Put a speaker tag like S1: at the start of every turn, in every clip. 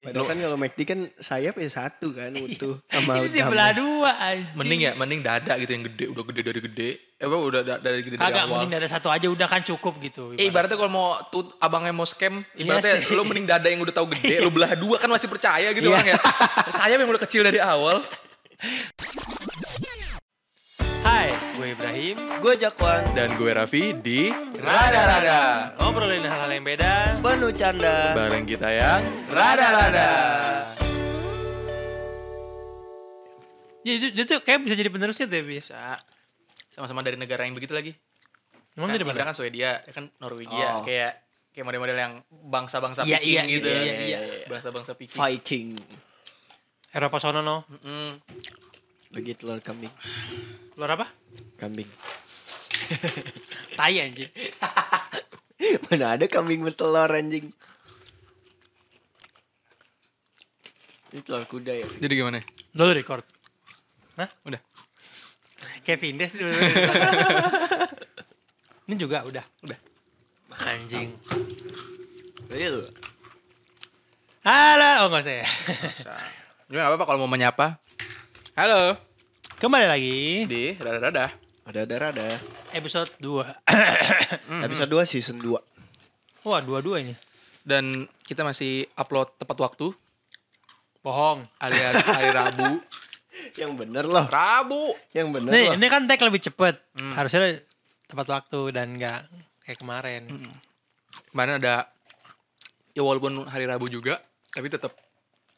S1: Ya,
S2: Padahal kan kalau McD kan sayap ya satu kan utuh sama
S1: Iya. Ini
S2: utama.
S1: dibelah dua anjing.
S3: Mending ya, mending dada gitu yang gede, udah gede dari gede. Eh, apa, udah da- dari gede dari
S1: Kagak
S3: awal.
S1: mending ada satu aja udah kan cukup gitu.
S3: Eh, ibaratnya kalau mau tut, abangnya mau scam, ibaratnya
S1: Iya sih. Iya.
S3: lo mending dada yang udah tahu gede, lo belah dua kan masih percaya gitu orang ya. Sayap yang udah kecil dari awal.
S1: Hai, gue Ibrahim.
S2: Gue Jakwan,
S3: Dan gue Raffi di
S2: Rada-rada.
S1: Nah, Ngobrolin hal-hal yang beda.
S2: penuh canda.
S3: bareng kita ya. yang
S2: Rada-rada.
S1: Ya, itu, itu kayak bisa jadi penerusnya tuh ya, biasa.
S3: sama-sama dari negara yang begitu lagi.
S1: Emang
S3: kan,
S1: dari
S3: Ibra
S1: mana?
S3: kan Swedia, dia kan
S2: Oh.
S3: Norwegia, kayak kayak model-model yang bangsa-bangsa
S1: Iya,
S3: Viking
S1: iya,
S3: gitu.
S1: iya, iya, iya, iya.
S3: Bangsa-bangsa Viking.
S2: Viking.
S1: Eropa sono no.
S3: Mm-mm.
S2: Lagi telur kambing.
S1: Luar apa?
S2: Kambing.
S1: Tai anjing.
S2: Mana ada kambing bertelur anjing. Ini telur kuda ya.
S3: Jadi gimana?
S1: Lo lu record.
S3: Udah.
S1: Kevin Des itu. Ini juga udah. Udah. Anjing.
S2: Real.
S1: Halo, oh enggak saya.
S3: Cuma gak apa-apa kalau mau menyapa. Halo.
S1: Kembali lagi
S3: Di Rada-Rada.
S2: Ada ada ada.
S1: episode 2.
S2: Episode 2 season 2.
S1: Wah, dua-dua ini.
S3: Dan kita masih upload tepat waktu.
S1: Bohong.
S3: Alias hari Rabu.
S2: Yang bener loh.
S3: Rabu.
S2: Yang bener
S1: Nih,
S2: loh.
S1: ini kan tag lebih cepet. Harusnya tepat waktu dan enggak kayak kemarin.
S3: Kemarin ada, ya walaupun hari Rabu juga, tapi tetap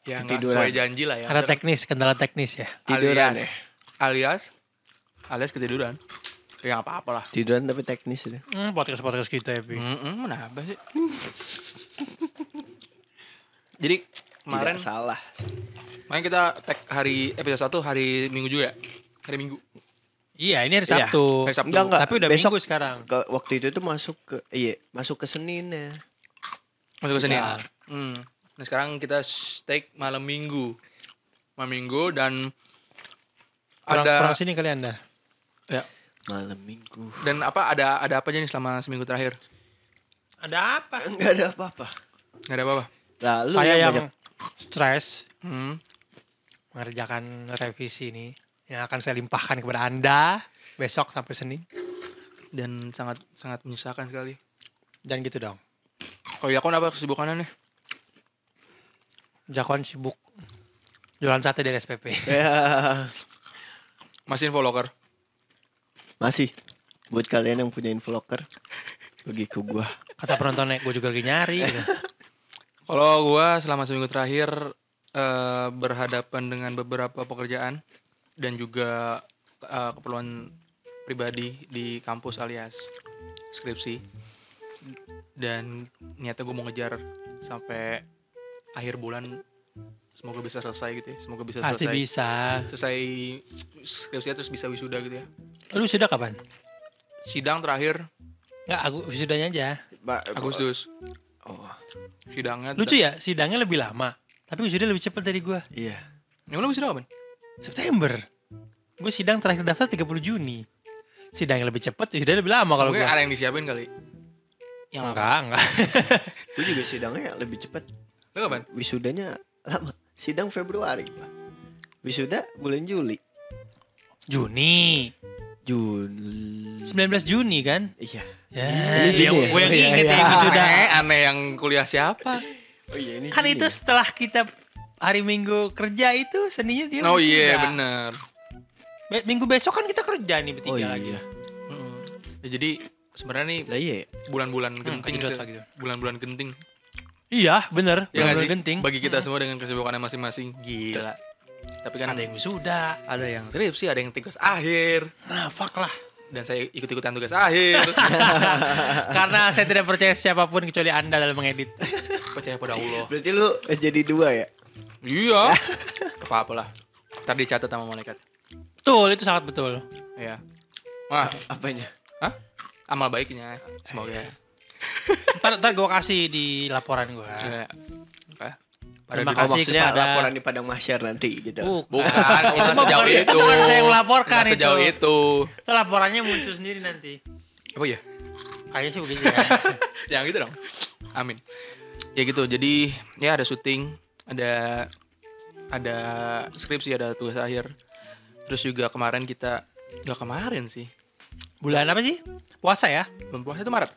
S3: ya nggak
S2: Ketiduran.
S3: sesuai janji lah ya.
S1: Ada teknis, kendala teknis ya.
S2: Tiduran ya.
S3: alias, alias, alias ketiduran. Ya nggak apa-apa lah.
S2: Tiduran tapi teknis itu.
S1: Hmm, podcast-podcast kita ya, Pi.
S3: Mm-mm, kenapa sih? Jadi kemarin,
S2: Tidak salah.
S3: kemarin kita tag hari episode 1 hari Minggu juga ya? Hari Minggu.
S1: Iya, ini hari
S2: Iya,
S1: Sabtu.
S3: hari Sabtu.
S2: Enggak, enggak.
S1: Tapi udah
S2: Besok.
S1: minggu sekarang.
S2: Ke, waktu itu tuh masuk ke iya, masuk ke Senin ya.
S3: Masuk ke Senin.
S1: Ya.
S3: Hmm. Nah, sekarang kita steak malam Minggu. Malam Minggu dan
S1: Kurang,
S3: ada
S1: kurang sini kali Anda.
S3: ya.
S2: Malam Minggu.
S3: Dan apa ada ada apa aja nih selama seminggu terakhir?
S1: Ada apa?
S2: Enggak ada apa-apa.
S3: Gak ada apa-apa.
S2: Lalu
S1: Saya yang,
S2: Nah, banyak-
S1: stres
S3: Hmm.
S1: mengerjakan revisi ini yang akan saya limpahkan kepada Anda besok sampai Senin.
S3: Dan sangat sangat menyusahkan sekali. Oh
S1: Jangan gitu dong.
S3: Kalau Yakon apa kesibukannya nih?
S1: Jakon sibuk jualan sate dari SPP.
S2: Ya,
S3: Masih info locker.
S2: masih buat kalian yang punya inflocker pergi ke gua.
S1: Kata penontonnya, gue juga lagi nyari. gitu.
S3: Kalau gua selama seminggu terakhir eh, berhadapan dengan beberapa pekerjaan dan juga eh, keperluan pribadi di kampus alias skripsi dan niatnya gue mau ngejar sampai akhir bulan semoga bisa selesai gitu ya semoga bisa
S1: Pasti
S3: selesai
S1: bisa.
S3: selesai skripsinya terus bisa wisuda gitu ya
S1: Lu sudah kapan?
S3: sidang terakhir
S1: Enggak, aku wisudanya aja.
S2: Ba-
S3: Agustus
S2: Oh,
S3: sidangnya
S1: Lucu ya, sidangnya lebih lama. Tapi wisudanya lebih cepat dari gue.
S2: iya.
S1: ya?
S3: emang lu wisuda kapan?
S1: September. Gue sidang terakhir daftar 30 Juni. Sidangnya lebih cepat, wisudanya lebih lama kalau
S3: Mungkin
S1: gue.
S3: ada yang disiapin kali yang lama
S1: Enggak, enggak.
S2: Gua juga sidangnya lebih cepat.
S3: lu kapan?
S2: Wisudanya lama. Sidang Februari, Pak. Wisuda bulan Juli.
S1: Juni.
S2: Juli.
S1: 19 Juni kan?
S2: Iya.
S1: Ya,
S2: Ini
S1: itu yang
S2: Juni ya?
S1: gue yang
S2: Iya,
S1: inget
S2: iya.
S1: yang wisuda.
S3: aneh, aneh yang kuliah siapa?
S2: Oh iya ini.
S1: Kan
S2: Juni
S1: itu
S2: ya?
S1: setelah kita hari Minggu kerja itu seninya dia
S3: oh
S1: wisuda.
S3: iya bener.
S1: Be- Minggu besok kan kita kerja nih bertiga
S2: Oh iya.
S1: lagi.
S3: Mm-mm. Ya, jadi sebenarnya nih
S2: Lah iya. ya?
S3: bulan-bulan genting
S1: kejedot
S3: sih.
S1: Hmm, lagi tuh.
S3: bulan-bulan genting.
S1: Iya, bener.
S3: Ya nggak
S1: Bener-bener
S3: sih?
S1: genting. Hmm.
S3: Bagi kita semua dengan kesibukannya masing-masing. Gila. Tapi kan
S1: Ada yang wisuda.
S3: ada yang skripsi, ada yang tugas akhir.
S1: Nah, fuck lah.
S3: Dan saya ikut-ikutan tugas akhir.
S1: Karena saya tidak percaya siapapun kecuali Anda dalam mengedit.
S3: Percaya pada Allah.
S2: Berarti lu jadi dua ya?
S3: Iya. Apa-apalah. Ntar dicatat sama malaikat.
S1: Betul, itu sangat betul.
S3: Iya. Wah,
S2: Apanya?
S3: hah? Amal baiknya. Semoga.
S1: Iya. Ntar, ntar gue kasih di laporan gue.
S3: Iya. Apa?
S1: Terima
S2: Oh,
S1: kasih
S2: maksudnya
S1: kepada... Oh.
S2: laporan di Padang Mahsyar nanti gitu.
S3: Bukan, itu
S1: Itu bukan-
S3: sejauh itu.
S1: itu bukan saya yang melaporkan
S3: Nggak sejauh
S1: itu.
S3: itu.
S1: Itu laporannya muncul sendiri nanti.
S3: Oh iya.
S1: Kayaknya sih begitu ya.
S3: yang gitu dong. Amin. Ya gitu. Jadi ya ada syuting, ada ada skripsi ada tugas akhir terus juga kemarin kita nggak kemarin sih
S1: Bulan apa sih? Puasa ya?
S3: belum puasa itu Maret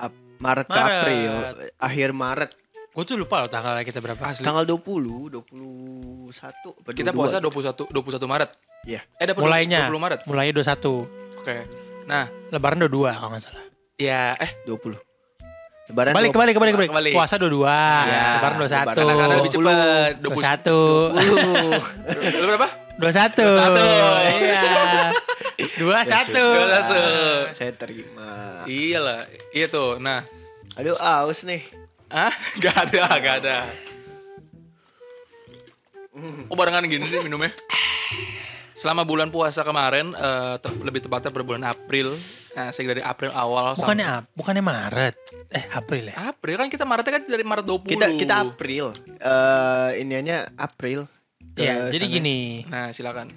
S2: Ap- Maret, ke
S1: Maret.
S2: April akhir Maret
S1: Gue tuh lupa loh tanggalnya kita berapa.
S3: asli
S2: tanggal 20 21 apa
S3: kita
S2: 22?
S3: puasa 21 21 Maret
S2: Iya.
S3: eh dapat
S1: Mulainya.
S3: 20 Maret
S1: Mulainya 21.
S3: oke nah
S1: Lebaran 22 kalau nggak salah.
S3: ya eh
S2: 20 Lebaran
S1: Kembali, kembali, kembali, kembali.
S3: Kebalik.
S1: Puasa 22.
S2: Iya,
S1: Lebaran 21.
S2: Lebaran.
S3: nah, karena lebih cepat
S1: 21.
S2: 20.
S3: 20 lu berapa
S1: 21.
S3: 21.
S1: Iya. 21.
S3: 21.
S2: Ah, Saya terima.
S3: iya lah iya tuh nah
S2: Aduh aus nih.
S3: ah nggak ada nggak ada oh barengan gini sih minumnya selama bulan puasa kemarin eh, te- lebih tepatnya per bulan April nah sehingga dari April awal sampai-
S1: Bukannya Ap- bukannya Maret. Eh, April ya.
S3: April kan kita Maretnya kan dari Maret 20
S2: Kita kita April. Eh iniannya April. Ke
S1: Iya, jadi
S2: sana.
S1: gini.
S3: nah silakan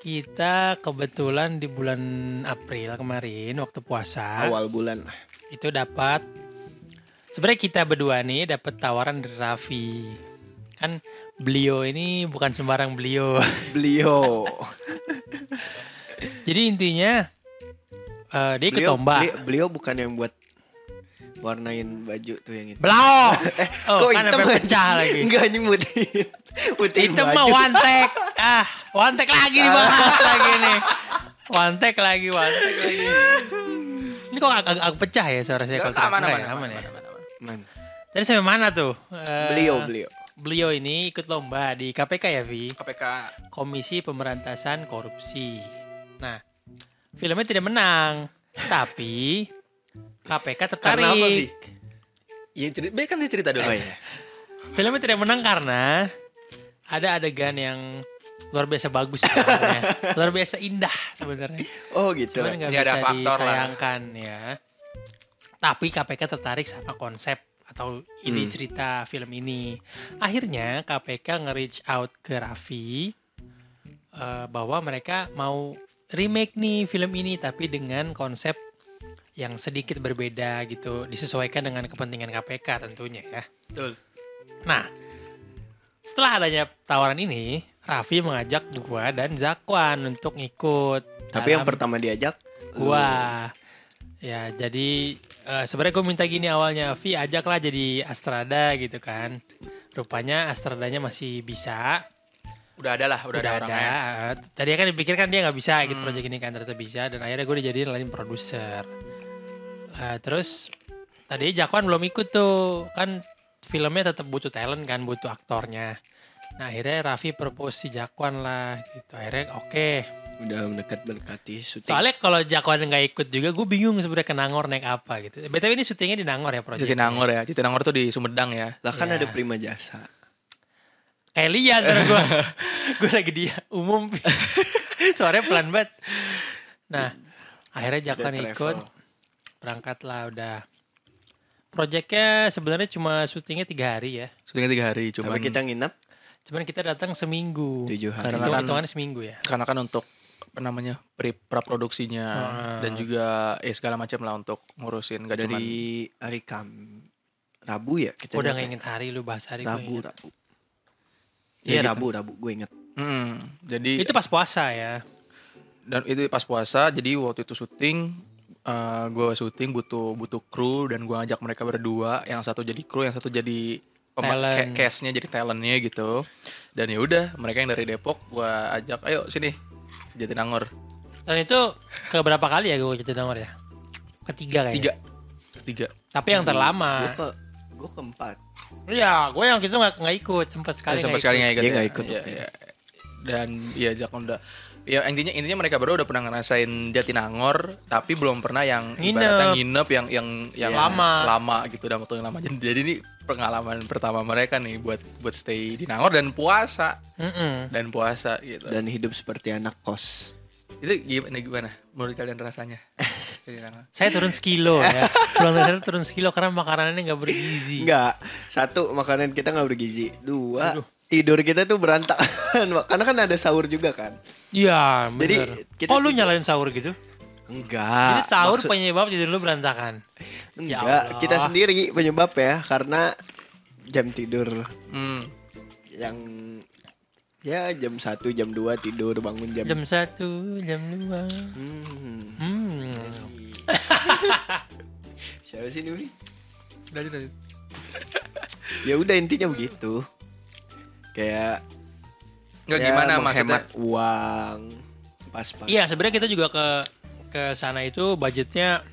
S1: Kita kebetulan di bulan April kemarin waktu puasa
S2: awal bulan.
S1: itu dapat sebenarnya kita berdua nih dapat tawaran dari Raffi. Kan beliau ini bukan sembarang beliau.
S2: Beliau.
S1: Jadi intinya eh, dia ikut
S2: beliau,
S1: lomba.
S2: beli- beliau bukan yang buat warnain baju tuh yang itu.
S1: Belau. oh,
S2: Kok
S1: kan
S2: hitam
S1: sampai
S2: aja?
S1: pecah lagi.
S2: Enggak anjing putihin. Putihin
S1: Hitam mah
S2: baju.
S1: one take. Ah, one take lagi nih bahas lagi nih. One take lagi, one take lagi. Ini kok agak, agak pecah ya suara saya kalau
S3: Aman,
S1: tidak-
S3: aman,
S1: enggak ya?
S3: aman,
S1: ya.
S3: aman, aman.
S2: Man,
S1: Tadi sampai mana tuh? Eh,
S2: Beliau, beliau.
S1: Beliau ini ikut lomba di KPK ya, Vi.
S3: KPK
S1: Komisi Pemberantasan Korupsi. Nah, filmnya tidak menang, tapi KPK tertarik.
S2: Karena apa, Vi?
S3: Iya cerita, kan dia cerita dulu.
S2: Oh iya.
S1: Filmnya tidak menang karena ada adegan yang luar biasa bagus sebenarnya. luar biasa indah sebenarnya.
S2: Oh gitu.
S1: Cuman nggak
S3: Ya, ada
S1: bisa
S3: faktor lah.
S1: ditayangkan ya. Tapi KPK tertarik sama konsep atau ide
S3: Hmm.
S1: cerita film ini. Akhirnya KPK nge-reach out ke Raffi eh, bahwa mereka mau remake nih film ini tapi dengan konsep yang sedikit berbeda gitu disesuaikan dengan kepentingan KPK tentunya ya.
S3: Betul.
S1: Nah, setelah adanya tawaran ini, Raffi mengajak gua dan Zakwan untuk ngikut.
S2: Tapi yang
S1: dalam
S2: pertama diajak
S1: gua. Ya, jadi eh, sebenarnya gue minta gini awalnya, Vi ajaklah jadi Astrada gitu kan. Rupanya Astradanya masih bisa,
S3: Udah ada lah,
S1: udah,
S3: udah, ada
S1: ada.
S3: orangnya.
S1: Eh, Tadi kan dipikirkan dia nggak bisa gitu
S3: Hmm.
S1: project ini kan ternyata bisa dan akhirnya gue dijadiin lain produser. Eh, terus tadi Jakwan belum ikut tuh kan filmnya tetap butuh talent kan butuh aktornya. Nah akhirnya Raffi propose si Jakwan lah gitu akhirnya oke.
S2: udah mendekat mendekati syuting.
S1: Soalnya kalau Jakwan nggak ikut juga gue bingung sebenarnya ke Nangor naik apa gitu. BTW ini syutingnya di Nangor ya project.
S3: Jatinangor ya, Jatinangor tuh di Sumedang ya.
S2: lah kan
S1: Iya.
S2: ada prima jasa.
S1: Kayak lian gue. gue lagi dia umum. Suaranya pelan banget. Nah, akhirnya Jakwan
S2: The
S1: ikut.
S2: travel.
S1: Berangkatlah udah. Proyeknya sebenarnya cuma syutingnya tiga hari ya.
S3: Syutingnya tiga hari, cuman
S2: Tapi kita nginep
S1: Cuman kita datang seminggu.
S2: tujuh hari. kan
S3: Karena-
S1: Hitung hitungannya seminggu ya.
S3: karena kan untuk apa namanya pre praproduksinya
S1: Ah.
S3: dan juga ya segala macam lah untuk ngurusin gak cuman
S2: dari hari Kam Rabu ya kita
S1: Gua Oh, udah
S2: nyampe.
S1: gak inget hari lu bahas hari gua
S2: Rabu
S1: inget.
S2: Rabu
S3: Ya
S2: iya
S3: gitu.
S2: Rabu Rabu gue inget
S3: Mm, jadi
S1: Itu pas puasa ya.
S3: dan itu pas puasa jadi waktu itu syuting eh gue syuting butuh butuh kru dan gue ajak mereka berdua yang satu jadi kru yang satu jadi
S1: Talent.
S3: case-nya jadi talentnya gitu dan ya udah mereka yang dari Depok gue ajak ayo sini Jatinangor
S1: Dan itu keberapa kali ya gue jadi nomor ya? Ketiga kayaknya.
S3: tiga tiga
S1: Tapi yang
S2: gue
S1: terlama.
S2: ke gue keempat
S1: Iya, gue yang itu gak, nggak ikut. Sempat sekali
S3: Eh,
S1: nggak
S3: sampai
S1: ikut.
S3: sekali nggak
S2: Dia
S3: ikut ya.
S2: nggak ikut,
S3: Iya,
S2: oke.
S3: iya. dan ya Jakon udah ya intinya intinya mereka berdua udah pernah ngerasain Jatinangor tapi belum pernah yang
S1: Nginep. Iya.
S3: ibaratnya nginep yang yang yang
S1: Lama.
S3: lama gitu dalam waktu yang lama jadi, jadi ini pengalaman pertama mereka nih buat buat stay di Nangor dan puasa
S1: Mm-mm.
S3: dan puasa gitu
S2: dan hidup seperti anak kos
S3: itu gimana gimana menurut kalian rasanya Jatinangor
S1: Saya turun sekilo ya. Pulang dari sana turun sekilo karena makanannya nggak bergizi.
S2: enggak satu makanan kita nggak bergizi dua tidur kita tuh berantakan karena kan ada sahur juga kan
S1: Iya,
S2: Jadi,
S1: bener.
S2: kita-
S1: Kok lu nyalain sahur gitu? Jadi
S2: enggak
S1: sahur
S2: Maksud-
S1: penyebab jadi lu berantakan. Ya
S2: enggak
S1: Allah.
S2: kita sendiri penyebab ya karena jam tidur
S3: hmm.
S2: yang ya jam 1 jam 2 tidur bangun jam,
S1: Jam satu, jam dua.
S2: Hmm.
S1: Hmm.
S2: Siapa sih ini? Uli?
S3: Lanjut, lanjut.
S2: Ya udah intinya begitu. Kayak
S3: Nggak
S2: ya,
S3: gimana maksudnya?
S2: menghemat uang pas-pas.
S1: Iya, sebenarnya kita juga ke ke sana itu budgetnya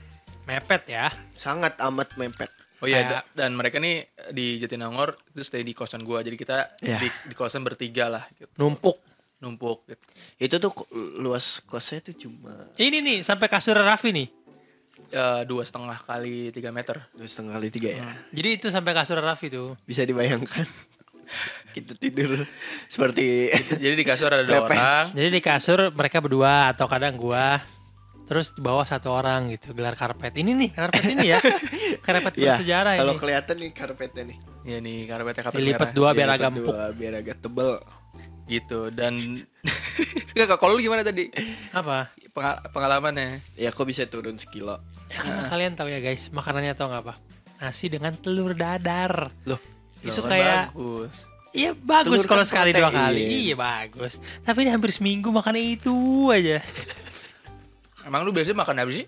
S1: mepet ya.
S2: Sangat amat mepet.
S3: Oh iya,
S1: Kayak-
S3: da- dan mereka nih di Jatinangor itu stay di kosan gua. Jadi kita
S2: Iya.
S3: di, di kosan bertiga lah gitu.
S1: Numpuk.
S3: Numpuk gitu.
S2: Itu tuh ko- luas kosnya tuh cuma
S1: Ini nih sampai kasur Raffi nih.
S3: Eh, dua setengah kali tiga meter.
S2: dua setengah kali tiga ya.
S1: Jadi itu sampai kasur Raffi tuh.
S2: Bisa dibayangkan kita tidur seperti
S3: Jadi di kasur ada dua
S2: Lepes.
S3: orang.
S1: Jadi di kasur mereka berdua atau kadang gua terus di bawah satu orang gitu gelar karpet. Ini nih karpet ini ya. karpet
S2: ya.
S1: bersejarah
S2: Kalau
S1: ini.
S2: kelihatan nih karpetnya nih.
S3: Ya nih karpetnya karpet
S1: Dilipat
S3: merah.
S1: dua biar
S2: Dilipat
S1: agak empuk.
S2: dua, Biar agak tebel.
S3: Gitu dan Nggak, Kak, kalau lu gimana tadi
S1: Apa?
S3: Pengal- pengalamannya?
S2: Ya kok bisa turun sekilo?
S1: Ya, karena kalian tahu ya guys, makanannya tau nggak apa? Nasi dengan telur dadar.
S2: Loh,
S1: itu
S3: Kan
S1: kayak
S3: bagus.
S1: Iya bagus
S2: Telur
S1: kalau
S2: kan
S1: sekali dua
S2: protein.
S1: kali. Iya bagus. Tapi ini hampir seminggu makannya itu aja.
S3: Emang lu biasanya makan apa sih?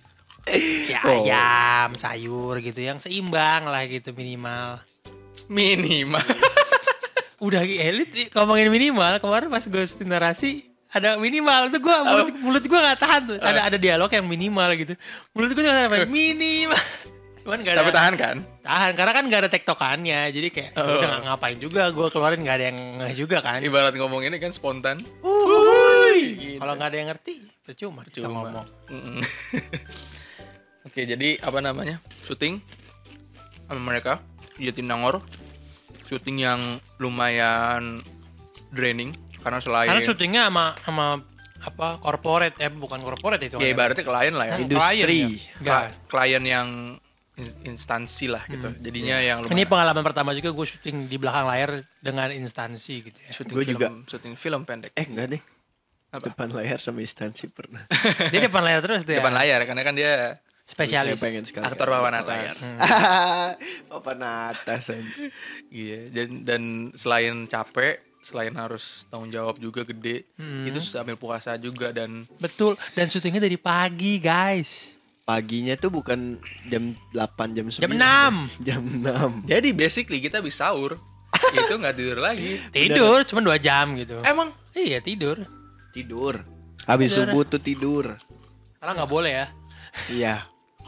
S1: Ya
S2: Oh.
S1: ayam, sayur gitu yang seimbang lah gitu minimal.
S3: Minimal.
S1: Udah elit i- ngomongin minimal kemarin pas gue syuting narasi ada minimal tuh gue mulut, mulut gue nggak tahan tuh
S3: Ah.
S1: ada ada dialog yang minimal gitu mulut gue tuh nggak tahan minimal cuman gak ada
S3: Tapi tahan Oh. kan?
S1: tahan karena kan gak ada tektokannya jadi kayak ya udah nggak ngapain juga gue keluarin nggak ada yang ngeh juga kan
S3: Ibarat ngomong ini kan spontan.
S1: kalau nggak ada yang ngerti percuma kita
S3: Cuma.
S1: ngomong
S3: Mm-mm. Oke, jadi apa namanya? Syuting sama mereka di Jatinangor. Syuting yang lumayan draining karena selain
S1: Karena syutingnya sama sama apa corporate eh bukan corporate itu.
S3: ya
S1: kan.
S3: ibaratnya klien lah ya.
S1: Hmm,
S2: Industri.
S1: klien ya.
S3: Kla- klien yang in- instansi lah gitu. Jadinya yang
S1: Enggak.
S3: lumayan.
S1: Ini pengalaman pertama juga gue syuting di belakang layar dengan instansi gitu ya.
S3: syuting
S2: Gua
S3: film,
S2: juga.
S3: syuting film pendek.
S2: Eh enggak deh.
S3: Apa?
S2: Depan layar sama instansi pernah.
S1: Dia depan layar terus ya. dia.
S3: Depan layar karena kan dia
S1: Spesialis.
S2: Saya pengen sekali.
S3: aktor
S2: papan
S3: papan atas. Hmm.
S2: papan atas aja.
S3: Iya, dan dan selain capek, selain harus tanggung jawab juga gede,
S1: Hmm.
S3: itu sambil puasa juga dan
S1: Betul. Dan syutingnya dari pagi guys.
S2: Paginya tuh bukan jam 8 jam 9.
S1: Jam enam.
S2: Jam
S3: jadi basically kita bisa sahur. itu nggak tidur lagi.
S1: Tidur cuma dua jam gitu.
S3: Emang
S1: Iya tidur.
S2: 6. Tidur. Habis
S1: Tidur.
S2: subuh tuh tidur.
S1: Karena nggak boleh ya.
S2: Iya.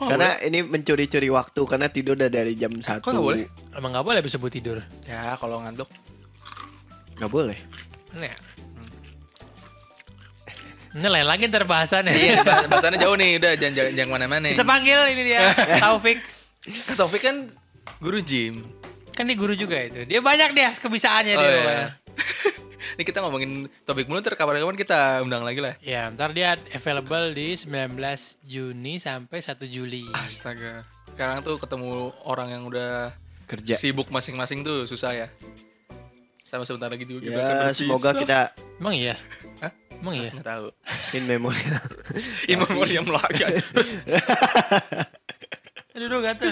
S2: karena ini mencuri-curi waktu karena tidur udah dari jam 1.
S3: nggak boleh?
S1: Emang nggak boleh habis subuh tidur.
S3: ya kalau ngantuk
S2: Nggak boleh.
S1: Mana ya? Ini lain lagi ntar bahasannya.
S3: Iya, bahas- bahasannya jauh nih, udah jangan jangan, jangan mana-mana.
S1: Kita panggil ini dia Taufik.
S3: Kak Taufik kan guru gym.
S1: Kan dia guru juga itu. Dia banyak dia kebisaannya
S3: Oh,
S1: dia.
S3: iya.
S1: pokoknya.
S3: Ini kita ngomongin topik mulu ntar kapan-kapan kita undang lagi lah.
S1: Ya, ntar dia available di 19 Juni sampai 1 Juli.
S3: Astaga. Sekarang tuh ketemu orang yang udah
S2: Kerja.
S3: sibuk masing-masing tuh susah ya. Sama sebentar lagi juga kita
S2: Ya,
S3: akan berpisah.
S2: semoga kita
S1: Emang iya?
S3: Hah?
S1: Emang iya?
S3: nggak tahu.
S2: in memory.
S3: In memoriam lagi.
S1: Aduh, aduh gatel.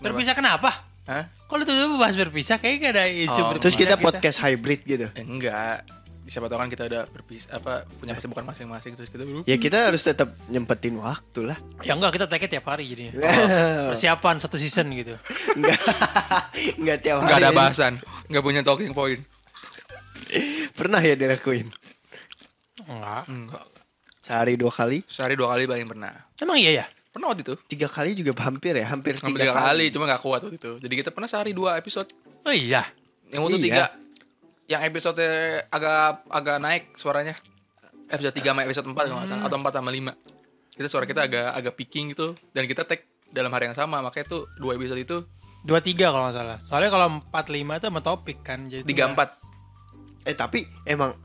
S1: Berpisah kenapa?
S3: Hah?
S1: Kok lu tiba-tiba bahas berpisah? Kayaknya gak ada isu
S3: Oh,
S1: berpisah.
S2: Terus kita podcast hybrid gitu.
S3: Eh, enggak. Siapa tahu kan kita udah berpisah apa punya kesibukan masing-masing terus kita berpisah.
S2: Ya kita harus tetap nyempetin waktu lah.
S1: Ya enggak, kita tag tiap hari jadinya.
S2: Iya.
S1: Oh, Persiapan satu season gitu.
S2: Enggak. Enggak tiap hari.
S3: Enggak ada bahasan, enggak punya talking point.
S2: Pernah ya dilakuin.
S1: Enggak.
S3: Enggak.
S2: Sehari dua kali.
S3: Sehari dua kali paling pernah.
S1: Emang iya ya?
S3: Pernah waktu itu.
S2: Tiga kali juga hampir ya. Hampir tiga,
S3: Hampir tiga
S2: kali.
S3: kali, cuma nggak kuat waktu itu. Jadi kita pernah sehari dua episode.
S1: Oh iya.
S3: Yang waktu
S2: Iya.
S3: tiga, yang episode agak agak naik suaranya. Episode tiga sama episode empat kalau nggak salah, atau empat sama lima. Kita suara kita agak agak picking gitu, dan kita tag dalam hari yang sama, makanya tuh dua episode itu
S1: Dua tiga kalau nggak salah. Soalnya kalau empat lima itu sama topik kan. Jadi
S3: tiga empat.
S2: Eh tapi emang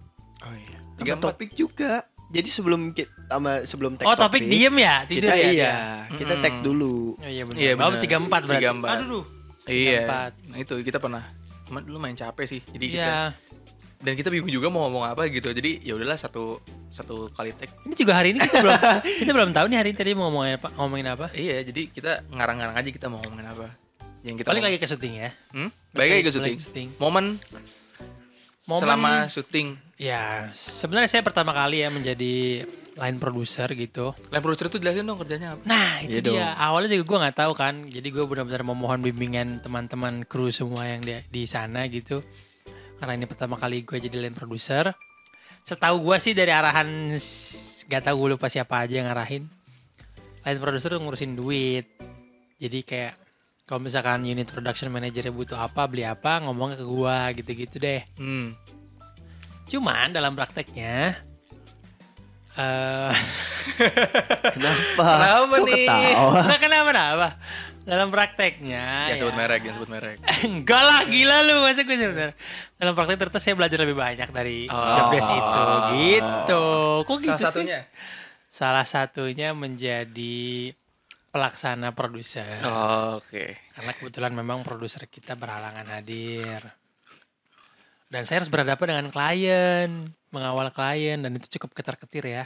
S3: Oh iya.
S2: tiga
S3: Tiga empat.
S2: topik juga. Jadi sebelum kita sama sebelum tag
S1: Oh topik diem ya? Tidur
S2: kita
S1: ya?
S2: iya
S1: dia?
S2: kita
S3: Mm-mm.
S2: tag dulu.
S1: Oh, iya benar.
S3: Iya,
S1: Baru
S3: benar.
S1: tiga empat berarti.
S3: 34.
S1: Aduh, duh.
S3: Iya.
S1: Empat.
S3: Nah itu kita pernah. Cuman dulu main capek sih. Jadi kita
S1: Iya.
S3: dan kita bingung juga mau ngomong apa gitu. Jadi ya udahlah satu satu kali tag.
S1: Ini juga hari ini kita belum kita belum tahu nih hari ini tadi mau ngomongin apa, ngomongin apa.
S3: Iya, jadi kita ngarang-ngarang aja kita mau ngomongin apa. yang kita
S1: Balik
S3: ngomong.
S1: lagi ke syuting ya.
S3: Hmm? Balik lagi ke
S1: Balik
S3: syuting.
S1: ke syuting.
S3: Momen,
S1: Momen-
S3: selama syuting.
S1: Ya, sebenarnya saya pertama kali ya menjadi line producer gitu.
S3: Line producer itu jelasin dong kerjanya apa.
S1: Nah,
S2: Iya
S1: itu
S2: dong.
S1: dia. Awalnya juga gue nggak tahu kan. Jadi gue benar-benar memohon bimbingan teman-teman kru semua yang di, di sana gitu. Karena ini pertama kali gue jadi line producer. Setahu gue sih dari arahan s- gak tahu gue lupa siapa aja yang ngarahin. Line producer tuh ngurusin duit. Jadi kayak kalau misalkan unit production managernya butuh apa, beli apa, ngomongnya ke gue gitu-gitu deh.
S3: Hmm.
S1: Cuman dalam prakteknya eh
S2: Kenapa?
S1: kenapa
S2: Kok
S1: nih?
S2: ketawa?
S1: Nah, kenapa kenapa? Dalam prakteknya ya.
S3: Jangan sebut merek, jangan sebut merek.
S1: Enggak lah, gila lu masa gue sebut merek? Dalam praktek ternyata saya belajar lebih banyak dari
S3: Oh.
S1: job desk itu gitu. Kok gitu sih? Salah satunya menjadi pelaksana produser.
S3: Oh, Oke.
S1: Karena kebetulan memang produser kita berhalangan hadir. Dan saya harus berhadapan dengan klien, mengawal klien dan itu cukup ketar-ketir ya.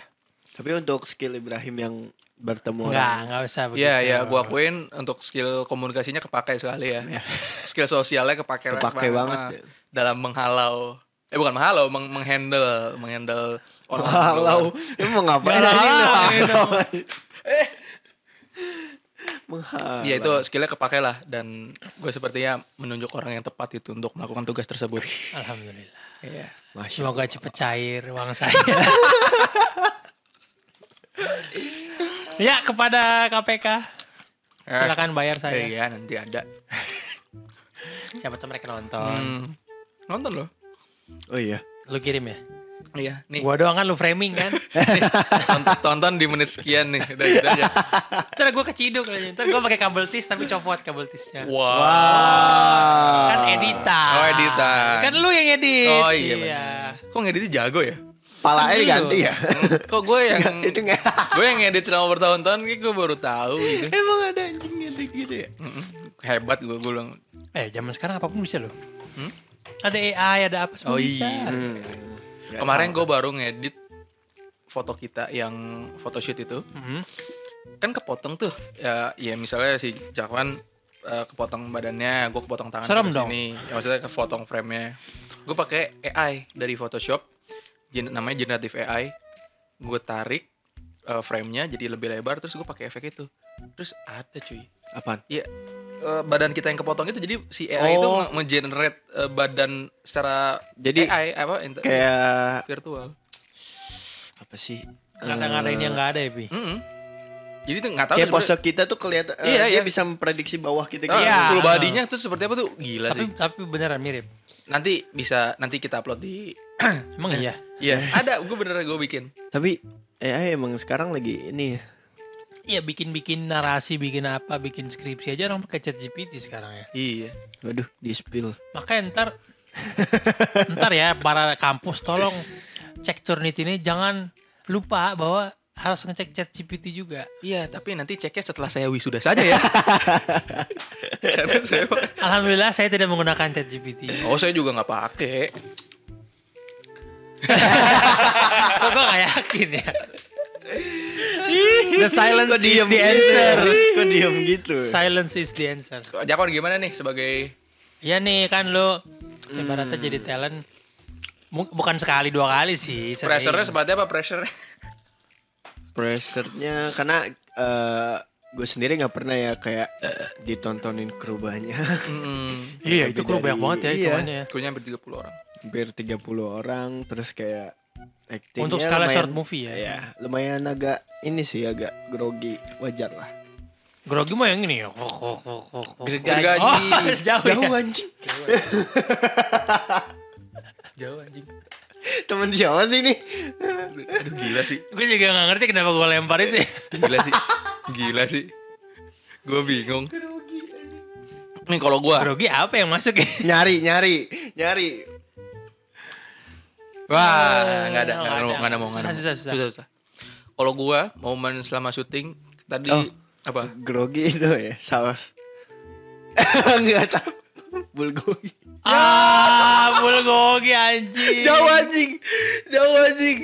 S2: Tapi untuk skill Ibrahim yang bertemu
S1: Enggak, enggak usah begitu.
S3: Iya, ya, gua akuin untuk skill komunikasinya kepake sekali ya. Skill sosialnya kepake,
S2: Kepake banget.
S3: Dalam menghalau. Eh bukan menghalau, meng menghandle, menghandle orang
S2: Menghalau. Ini mau ngapain
S1: Nggak
S2: anjing?
S1: ngapain,
S2: Menghalau. Eh. Menghalau.
S3: Ya itu skillnya kepake lah dan gue sepertinya menunjuk orang yang tepat itu untuk melakukan tugas tersebut.
S1: Alhamdulillah.
S3: Iya.
S2: Masya
S1: Semoga cepet cair uang saya. ya, kepada KPK.
S3: Eh,
S1: Silakan bayar saya.
S3: Iya nanti ada.
S1: Siapa tahu mereka nonton.
S3: Hmm. Nonton loh.
S2: Oh iya.
S1: Lu kirim ya?
S3: Iya. Nih. Ya.
S1: Gua doang kan lu framing kan?
S3: tonton, tonton di menit sekian nih. Udah gitu aja.
S1: Ntar gue keciduk lagi. Ntar gue pakai kabel tis tapi copot kabel tisnya.
S3: Wow.
S1: Kan
S2: Ah.
S1: editan.
S3: Oh, editan.
S1: Kan lu yang edit.
S3: Oh iya. bener. Kok ngeditnya jago ya?
S2: Palanya
S1: Kan dulu.
S2: ganti ya.
S3: Kok gue yang
S2: Itu nggak-
S3: gue yang ngedit selama bertahun-tahun kayak gue baru tahu gitu.
S2: Emang ada anjing ganti gitu ya?
S3: Mm-mm. Hebat gue gue bilang.
S1: Eh, zaman sekarang apapun bisa loh. Ada AI, ada apa semua
S3: Hmm? Oh,
S1: bisa.
S3: iya.
S2: Hmm.
S3: Kemarin gue baru ngedit foto kita yang photoshoot itu.
S1: Mm-mm.
S3: kan kepotong tuh ya, ya misalnya si Jakwan eh, kepotong badannya, gue kepotong tangan
S1: Serem
S3: ke
S1: dong.
S3: sini. Ya, maksudnya kepotong frame-nya. Gue pakai AI dari Photoshop, gen- namanya generative AI. Gue tarik eh, frame-nya jadi lebih lebar, terus gue pakai efek itu. Terus ada cuy.
S2: Apaan?
S3: Ya eh, badan kita yang kepotong itu jadi si AI itu
S2: Oh.
S3: nge- nge-generate eh, badan secara
S2: Jadi
S3: AI apa inter-
S2: Kayak
S3: virtual.
S2: apa sih?
S1: Kadang-kadang yang nggak ada ya, Pi.
S3: Mm-mm. Jadi tuh nggak tahu
S2: Kayak
S3: sebenarnya-
S2: pose kita tuh kelihatan eh,
S3: Iya,
S2: dia
S3: iya.
S2: bisa memprediksi bawah kita gitu.
S3: Ah,
S1: Iya.
S3: full body-nya tuh seperti apa tuh gila
S1: Tapi
S3: sih.
S1: tapi beneran mirip.
S3: Nanti bisa nanti kita upload di
S1: Emang iya.
S3: Iya, ada gue beneran gue bikin.
S2: Tapi AI emang sekarang lagi ini ya.
S1: Iya bikin-bikin narasi, bikin apa, bikin skripsi aja orang pakai ChatGPT sekarang ya.
S3: Iya.
S2: Waduh, di spill.
S1: Makanya ntar ntar ya para kampus tolong cek Turnit ini jangan lupa bahwa harus ngecek chat GPT juga.
S3: Iya, tapi nanti ceknya setelah saya wisuda saja ya. Karena saya
S1: Alhamdulillah saya tidak menggunakan chat GPT.
S3: Oh, saya juga nggak pakai.
S1: Kok gue gak yakin ya? The silence
S2: Kok
S1: is
S2: diem
S1: the
S2: gitu?
S1: answer.
S2: Kok diem gitu?
S1: Silence is the answer.
S3: Jakon gimana nih sebagai
S1: Ya nih kan lo ibaratnya jadi talent mu- bukan sekali dua kali sih. sering.
S3: pressure-nya seperti apa pressure?
S2: Pressure-nya karena eh, gue sendiri nggak pernah ya kayak eh, ditontonin kru banyak.
S3: Heeh.
S1: Iya itu
S2: Lebih
S1: kru
S2: dari-
S1: banyak banget ya
S2: iya.
S1: hitungannya ya.
S3: Kuliahnya hampir 30 orang.
S2: Hampir 30 orang terus kayak acting
S1: Untuk skala short movie ya?
S2: Iya, lumayan agak ini sih agak grogi wajar lah.
S1: Grogi mah yang ini ya. Kok, kok, kok, kok, kok.
S3: Gergaji.
S1: Oh, jauh,
S2: Jauh
S1: ya.
S2: anjing.
S3: Jauh anjing.
S2: Temen siapa sih ini?
S3: Aduh, gila sih.
S1: Gue juga gak ngerti kenapa gue lempar itu. ya.
S3: Gila sih. Gila sih. Gue bingung. Nih kalau gue
S1: Grogi apa yang masuk ya?
S2: nyari, nyari, nyari.
S3: Wah, nggak ada,
S1: nggak
S3: nggak ada,
S1: ada.
S3: nggak ada mau, nggak ada.
S1: Susah, susah, susah.
S3: Kalau gua momen selama syuting tadi
S2: Oh.
S3: apa?
S2: Grogi itu ya, saus. Enggak tahu. Bulgogi.
S1: ah, bulgogi anjing.
S2: Jauh anjing. Jauh anjing.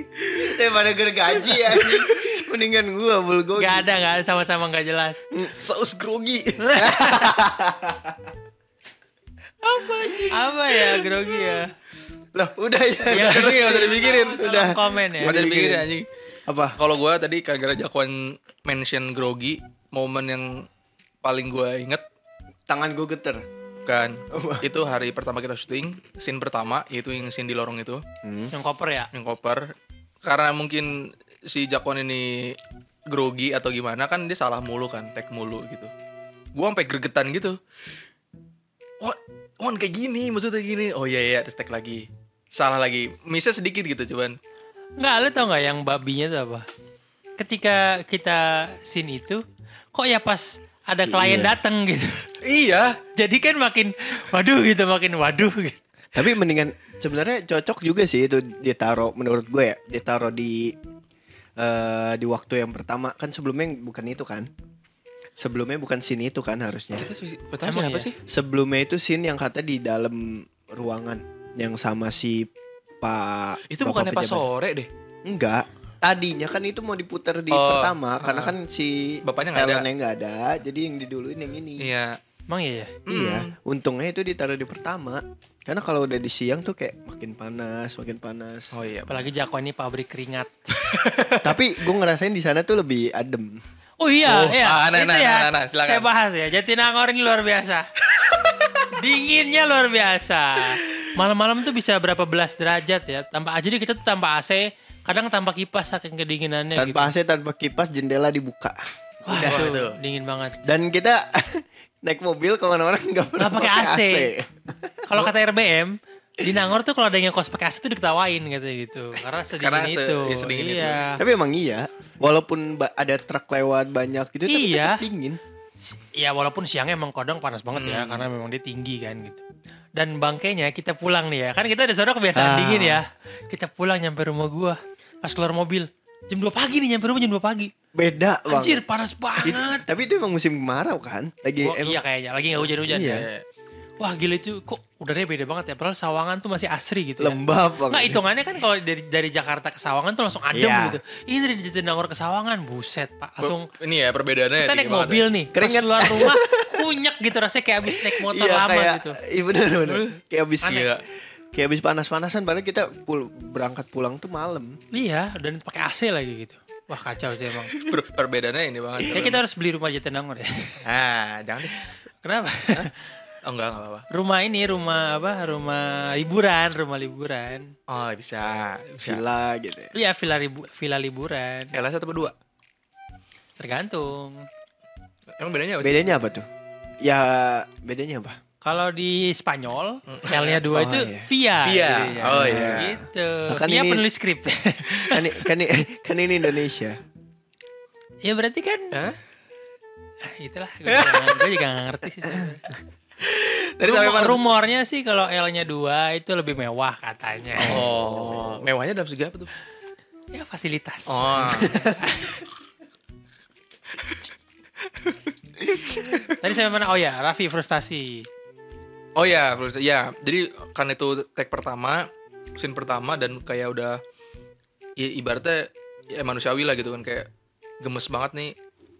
S2: Daripada Eh, gergaji anjing. Mendingan gua bulgogi.
S1: Gak ada, gak ada sama-sama gak jelas.
S2: Mm, Saus grogi.
S1: Apa ya grogi ya?
S2: Loh, udah ya.
S1: Ya,
S3: Udah,
S1: grogi
S3: udah dipikirin.
S1: Udah. komen ya.
S3: Ada dipikirin anjing.
S2: Apa?
S3: Kalau gue tadi gara-gara Jakwan mention grogi, momen yang paling gue inget
S2: Tangan gua geter.
S3: kan itu hari pertama kita syuting, scene pertama yaitu yang scene di lorong itu,
S1: Yang koper ya?
S3: yang koper. Karena mungkin si Jakwan ini grogi atau gimana kan dia salah mulu kan, tag mulu gitu. Gue sampai gregetan gitu. What? Wan kayak gini, maksudnya gini. Oh iya iya, terus tag lagi. Salah lagi. Misnya sedikit gitu cuman.
S1: Nggak, lu tau nggak yang babinya tuh apa? Ketika kita scene itu, kok ya pas ada klien datang gitu.
S3: Iya,
S1: Jadi kan makin, waduh gitu, makin waduh gitu.
S2: Tapi mendingan sebenarnya cocok juga sih itu ditaruh menurut gue ya, ditaruh di eh, di waktu yang pertama kan sebelumnya bukan itu kan. Sebelumnya bukan scene itu kan harusnya.
S3: Kita sih-
S1: Emang
S3: pertama sih apa
S1: iya?
S3: sih?
S2: Sebelumnya itu scene yang kata di dalam ruangan yang sama si Pak Bapak
S3: Itu bukannya pas
S2: pejabat.
S3: sore deh.
S2: Enggak. Tadinya kan itu mau diputar di
S3: Oh,
S2: pertama karena kan si
S3: Bapaknya nggak ada.
S2: talentnya nggak ada. Jadi yang diduluin yang ini.
S3: Iya.
S1: Emang iya ya?
S2: Iya, untungnya itu ditaruh di pertama. Karena kalau udah di siang tuh kayak makin panas, makin panas.
S3: Oh iya.
S1: Apalagi Jakwan ini pabrik keringat.
S2: Tapi gue ngerasain di sana tuh lebih adem.
S1: Oh iya,
S3: Oh,
S1: iya.
S3: ah, nah,
S1: Itu
S3: nah,
S1: ya.
S3: nah, nah, silakan.
S1: Saya bahas ya. Jatinangor ini luar biasa. Dinginnya luar biasa. Malam-malam tuh bisa berapa belas derajat ya. Tanpa ah, jadi kita tuh tanpa AC, kadang tanpa kipas saking kedinginannya gitu.
S2: Tanpa AC, tanpa kipas, jendela dibuka.
S1: Wah,
S3: Nah,
S1: itu dingin banget.
S2: Dan kita naik mobil kemana-mana nggak pernah
S1: Nggak pakai AC. Kalau kata RBM, di Nangor tuh kalau ada yang kos pakai AC tuh diketawain katanya gitu. Karena sedingin
S3: Karena se-
S1: itu.
S3: ya, sedingin itu.
S1: iya.
S2: Tapi emang iya, walaupun ba- ada truk lewat banyak gitu, tapi
S1: Iya.
S2: tetap dingin.
S1: Si- Ya walaupun siangnya emang kodong panas banget
S2: Hmm.
S1: ya karena memang dia tinggi kan gitu. Dan bangkainya kita pulang nih ya. Kan kita ada saudara kebiasaan
S2: Ah.
S1: dingin ya. Kita pulang nyampe rumah gua pas keluar mobil. Jam 2 pagi nih nyampe rumah jam 2 pagi.
S2: Beda bang.
S1: Anjir panas
S2: Itu-
S1: banget.
S2: tapi itu emang musim kemarau kan? Lagi
S1: Wah,
S2: emang-
S1: iya kayaknya lagi nggak hujan-hujan
S2: Iya.
S1: ya. Wah gila itu kok udaranya beda banget ya. Padahal Sawangan tuh masih asri gitu ya.
S2: lembab bang.
S1: Nggak hitungannya kan kalau dari dari Jakarta ke Sawangan tuh langsung adem
S2: Iya.
S1: gitu. Ini dari Jatinangor ke Sawangan, buset pak. Langsung
S3: Ini ya
S1: kita
S3: perbedaannya. tinggi
S1: naik
S3: banget
S1: mobil
S3: ya.
S1: nih, pas
S2: Keringet.
S1: keluar rumah kunyek gitu rasanya kayak abis naik motor
S2: Iya,
S1: lama
S2: kayak,
S1: gitu.
S2: Iya bener bener. Kayak abis
S3: Aneh.
S2: Iya. Kayak abis panas-panasan padahal kita pul- berangkat pulang tuh malam.
S1: Iya, dan pakai AC lagi gitu. Wah kacau sih emang.
S3: Per- perbedaannya ini banget.
S1: Ya kita harus beli rumah Jatinangor ya.
S3: Ah, jangan deh.
S1: Kenapa?
S3: Oh enggak, enggak apa-apa.
S1: rumah ini rumah apa? Rumah liburan, rumah liburan.
S3: Oh, bisa. Bisa.
S2: Gila gitu. ya.
S1: Iya, villa ribu- villa liburan.
S3: Elah satu berdua.
S1: Tergantung.
S3: Emang
S1: iya.
S3: bedanya apa sih?
S2: Bedanya apa tuh? Ya bedanya apa?
S1: Kalau di Spanyol, L-nya dua
S2: Oh,
S1: itu
S2: iya.
S1: via.
S3: Via.
S1: jadinya.
S3: Oh, iya.
S1: Gitu.
S2: Bahkan
S1: Via
S2: ini-
S1: penulis skrip.
S2: Kan, i- kan, i- kan ini Indonesia.
S1: ya berarti kan. Ah, itulah. Gue juga, gue juga gak ngerti sih. sebenarnya.
S3: Tadi sampai
S1: Rumor-
S3: mana?
S1: rumornya sih kalau L-nya dua itu lebih mewah katanya.
S3: Oh, mewahnya dalam segi apa tuh?
S1: Ya fasilitas.
S3: Oh.
S1: Tadi saya mana? Oh ya, Raffi frustasi.
S3: oh ya, terus- ya. Jadi kan itu tag pertama, scene pertama dan kayak udah ya, ibaratnya ya, manusiawi lah gitu kan kayak gemes banget nih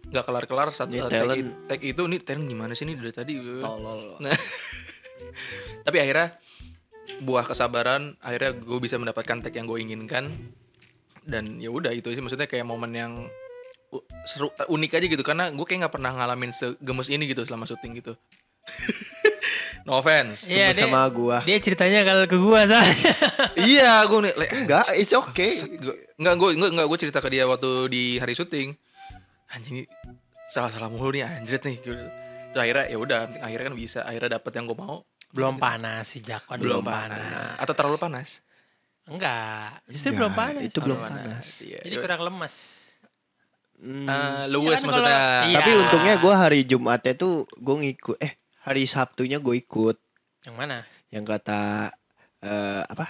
S3: nggak kelar-kelar saat
S2: Ini
S3: tag,
S2: talent.
S3: i- tag itu nih talent gimana sih nih dari tadi
S2: Tolol.
S3: Nah, tapi akhirnya buah kesabaran akhirnya gue bisa mendapatkan tag yang gue inginkan dan ya udah itu sih maksudnya kayak momen yang u- seru unik aja gitu karena gue kayak nggak pernah ngalamin segemes ini gitu selama syuting gitu no offense
S1: Iya, dia-
S2: sama gua.
S1: Dia ceritanya kalau ke gua soalnya.
S3: iya gue nih le-
S2: Enggak, it's
S1: Oh,
S2: okay.
S3: Gua- Nggak, gue nggak nggak gue cerita ke dia waktu di hari syuting. Anjing salah salah mulu nih anjret nih. Gua- Terus akhirnya ya udah, akhirnya kan bisa, akhirnya dapet yang gue mau.
S1: belum panas si Jakon belum, panas.
S3: Atau terlalu panas.
S1: Enggak, justru
S2: Enggak,
S1: belum panas.
S2: itu belum
S1: Terlalu
S2: panas.
S3: Iya.
S1: Jadi kurang lemes.
S2: Hmm.
S3: Eh,
S1: Ya
S3: luwes
S1: kan
S3: maksudnya.
S1: kalau-
S2: Tapi
S1: Iya.
S2: untungnya gua hari Jumatnya tuh gua ngikut. Eh hari Sabtunya gue ikut.
S1: Yang mana?
S2: Yang kata eh, apa?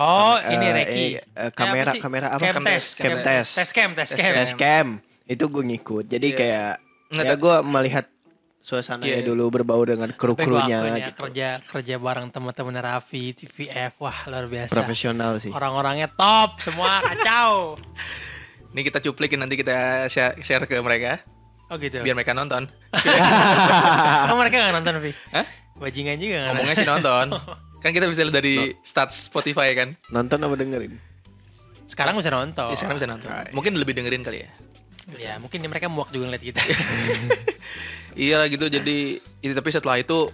S1: Oh,
S2: Eh,
S1: ini Reki.
S2: eh, eh, kamera- kamera apa?
S1: Cam test.
S2: Cam
S1: Cam
S2: test.
S1: Test cam, test cam.
S2: Tes camp. Itu gue ngikut. Jadi
S3: Iya.
S2: kayak
S3: Nggak
S2: ya
S3: tak-
S2: gue melihat suasananya
S3: Iya.
S2: dulu berbau dengan
S1: Tapi gua
S2: kru-krunya
S1: akuin ya,
S2: gitu.
S1: kerja kerja bareng teman-teman Raffi, TVF, wah luar biasa.
S2: Profesional sih.
S1: Orang-orangnya top, semua kacau.
S3: Ini kita cuplikin nanti kita share, share ke mereka
S1: Oh gitu.
S3: biar mereka nonton.
S1: Oh, mereka nggak nonton Vi?
S3: Hah?
S1: Bajingan juga nggak
S3: Ngomongnya sih nonton. Kan kita bisa lihat dari stats Spotify kan.
S2: Nonton apa dengerin?
S1: nonton. Sekarang bisa nonton.
S3: Ya, sekarang bisa nonton. Mungkin lebih dengerin kali ya.
S1: Ya mungkin mereka muak juga ngeliat kita.
S3: Iya gitu. Jadi itu tapi setelah itu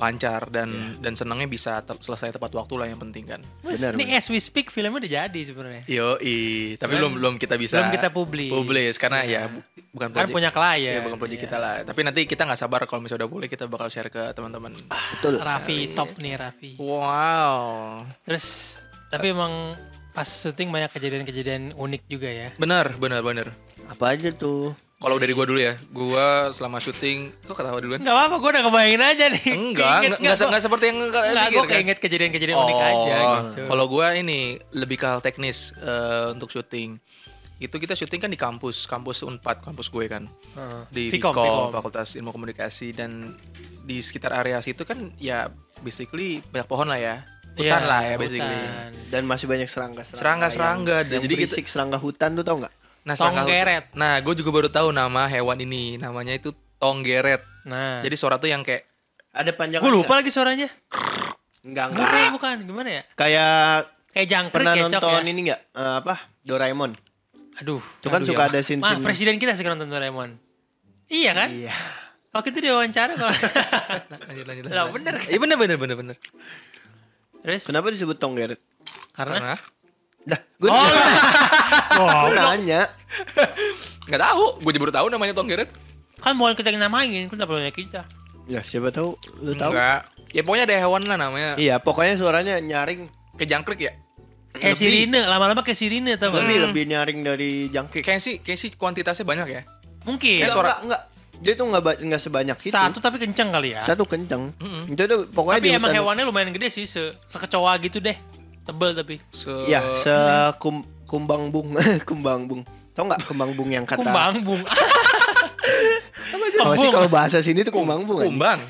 S3: lancar dan dan senangnya bisa te- selesai tepat waktu lah yang penting kan.
S1: Mas,
S2: Benar,
S1: ini as we speak filmnya udah jadi sebenarnya.
S3: Yo, tapi
S1: Cuman
S3: belum belum kita bisa
S1: belum kita publis.
S3: Publis karena ya, bu- bukan
S1: Kan
S3: project-
S1: punya klien.
S3: Iya, bukan proyek kita lah. Tapi nanti kita nggak sabar kalau misalnya udah boleh kita bakal share ke teman-teman.
S2: Betul.
S3: Iya.
S1: Raffi top nih Raffi.
S3: Wow.
S1: Terus tapi emang pas syuting banyak kejadian-kejadian unik juga ya.
S3: Benar, benar, benar.
S2: Apa aja tuh?
S3: Kalau dari gua dulu ya, gua selama syuting, kok ketawa duluan?
S1: Enggak apa-apa, gue udah kebayangin aja nih.
S3: Enggak, enggak, enggak, se- kan? enggak seperti yang kalian
S1: Enggak, gue
S3: pikirkan.
S1: keinget kejadian-kejadian unik
S3: Oh.
S1: aja gitu.
S3: Kalau gua ini lebih ke hal teknis eh, untuk syuting. Itu kita syuting kan di kampus, kampus Unpad, kampus gue kan. Di
S1: Vkom,
S3: Vkom,
S1: Vkom.
S3: Fakultas Ilmu Komunikasi dan di sekitar area situ kan ya basically banyak pohon lah ya. Hutan lah ya basically.
S1: Iya, hutan.
S2: Dan masih banyak serangga-serangga.
S3: Serangga-serangga.
S2: yang- Yang,
S3: Jadi kita-
S2: berisik serangga hutan tuh tau nggak?
S3: Nah,
S1: Tong
S3: serangga hutan-
S1: geret.
S3: Nah, gue juga baru tahu nama hewan ini. Namanya itu tong geret.
S1: Nah,
S3: Jadi kan suara tuh yang kayak
S2: Ada panjang.
S1: gue lupa lagi suaranya.
S2: Enggak enggak.
S1: Bukan, bukan. Gimana ya?
S2: Kayak
S1: Kayak jangkrik
S2: pernah
S1: kecok
S2: nonton
S1: ya.
S2: ini nggak? Eh, apa? Doraemon.
S1: Aduh.
S2: Itu kan
S3: Aduh,
S2: suka
S3: ya.
S2: ada scene
S1: Mah, presiden kita sekarang nonton Doraemon. Iya kan?
S2: Iya.
S1: Waktu itu diwawancara kalau
S3: lanjut lanjut.
S1: Lah, bener kan?
S3: Iya bener bener bener bener.
S1: Terus
S2: Kenapa disebut tong geret?
S1: karena
S3: Karena
S2: Dah, gue
S1: Oh,
S2: gua nanya.
S3: nggak tahu, gue baru tahu namanya tong geret.
S1: kan bukan kita yang namain, kan perlunya kita.
S2: Ya, siapa tahu lu tahu.
S3: Enggak. Ya pokoknya ada hewan lah namanya.
S2: Iya, pokoknya suaranya nyaring.
S3: Kejangkrik ya.
S1: Kayak sirine, lama-lama kayak sirine tau gak?
S2: Lebih lebih nyaring dari jangkrik. Eh,
S3: Kayak sih kayak sih kuantitasnya banyak ya.
S1: Mungkin.
S3: Kayak
S2: Enggak,
S3: suara-
S2: enggak. Dia tuh enggak enggak sebanyak itu.
S1: Iya, Satu tapi kenceng kali ya.
S2: gitu. Satu kenceng.
S3: Mm-mm.
S2: Itu tuh pokoknya
S1: tapi
S2: di
S1: emang
S2: hutan.
S1: hewannya lumayan gede sih, se sekecoa gitu deh. Tebel tapi.
S3: Se
S2: Ya, sekum kumbang bung, kumbang bung. Tau nggak kumbang bung yang kata?
S1: Kumbang bung.
S2: Apa sih
S1: Kembung.
S2: kalau bahasa sini tuh
S3: Kum-
S2: kumbang bung? kan?
S3: Kumbang.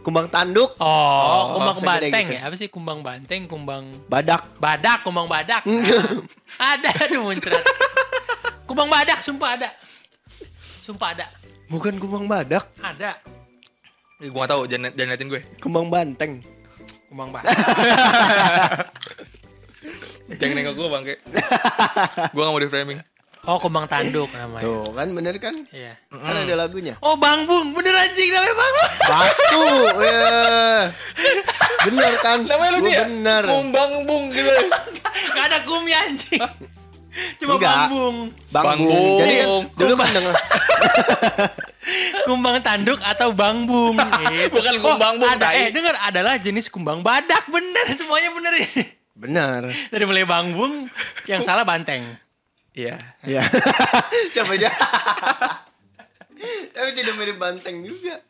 S2: Kumbang tanduk,
S1: Oh, kumbang
S2: segede
S1: banteng
S2: gitu.
S1: ya? Apa sih kumbang banteng, kumbang
S2: badak.
S1: badak, kumbang badak.
S2: Hmm.
S1: Ah, ada aduh muncrat. kumbang badak sumpah ada. Sumpah ada.
S2: Bukan kumbang badak,
S1: Ada.
S3: Ih, Gue gak tau, jangan, jangan liatin gue
S2: kumbang banteng.
S1: Kumbang badak.
S3: Jangan nengok gue bangke Gue gak mau di framing
S1: Oh, kumbang tanduk namanya.
S2: Tuh kan bener kan?
S1: Iya.
S2: Kan
S3: Hmm.
S2: ada lagunya.
S1: Oh, Bang Bung, bener anjing namanya Bang Bung.
S2: Batu. eh. bener kan?
S3: Namanya ya? lu
S2: Gua
S3: dia
S2: Bener.
S3: Kumbang bung gitu
S1: Gak ada kumnya anjing. Cuma
S2: Enggak.
S1: Bang Bung.
S2: Bang,
S3: Bang
S2: Bung.
S3: Bung.
S2: Jadi kan dulu kan denger
S1: Kumbang tanduk atau Bang Bung. gitu.
S3: Bukan kumbang bung,
S1: ada,
S3: tai.
S1: Eh, denger adalah jenis kumbang badak. Bener, semuanya bener ya. ini.
S2: bener.
S1: Dari mulai Bang Bung, yang salah banteng.
S3: Iya
S2: Ya. Siapa aja? Tapi tidak mirip banteng juga.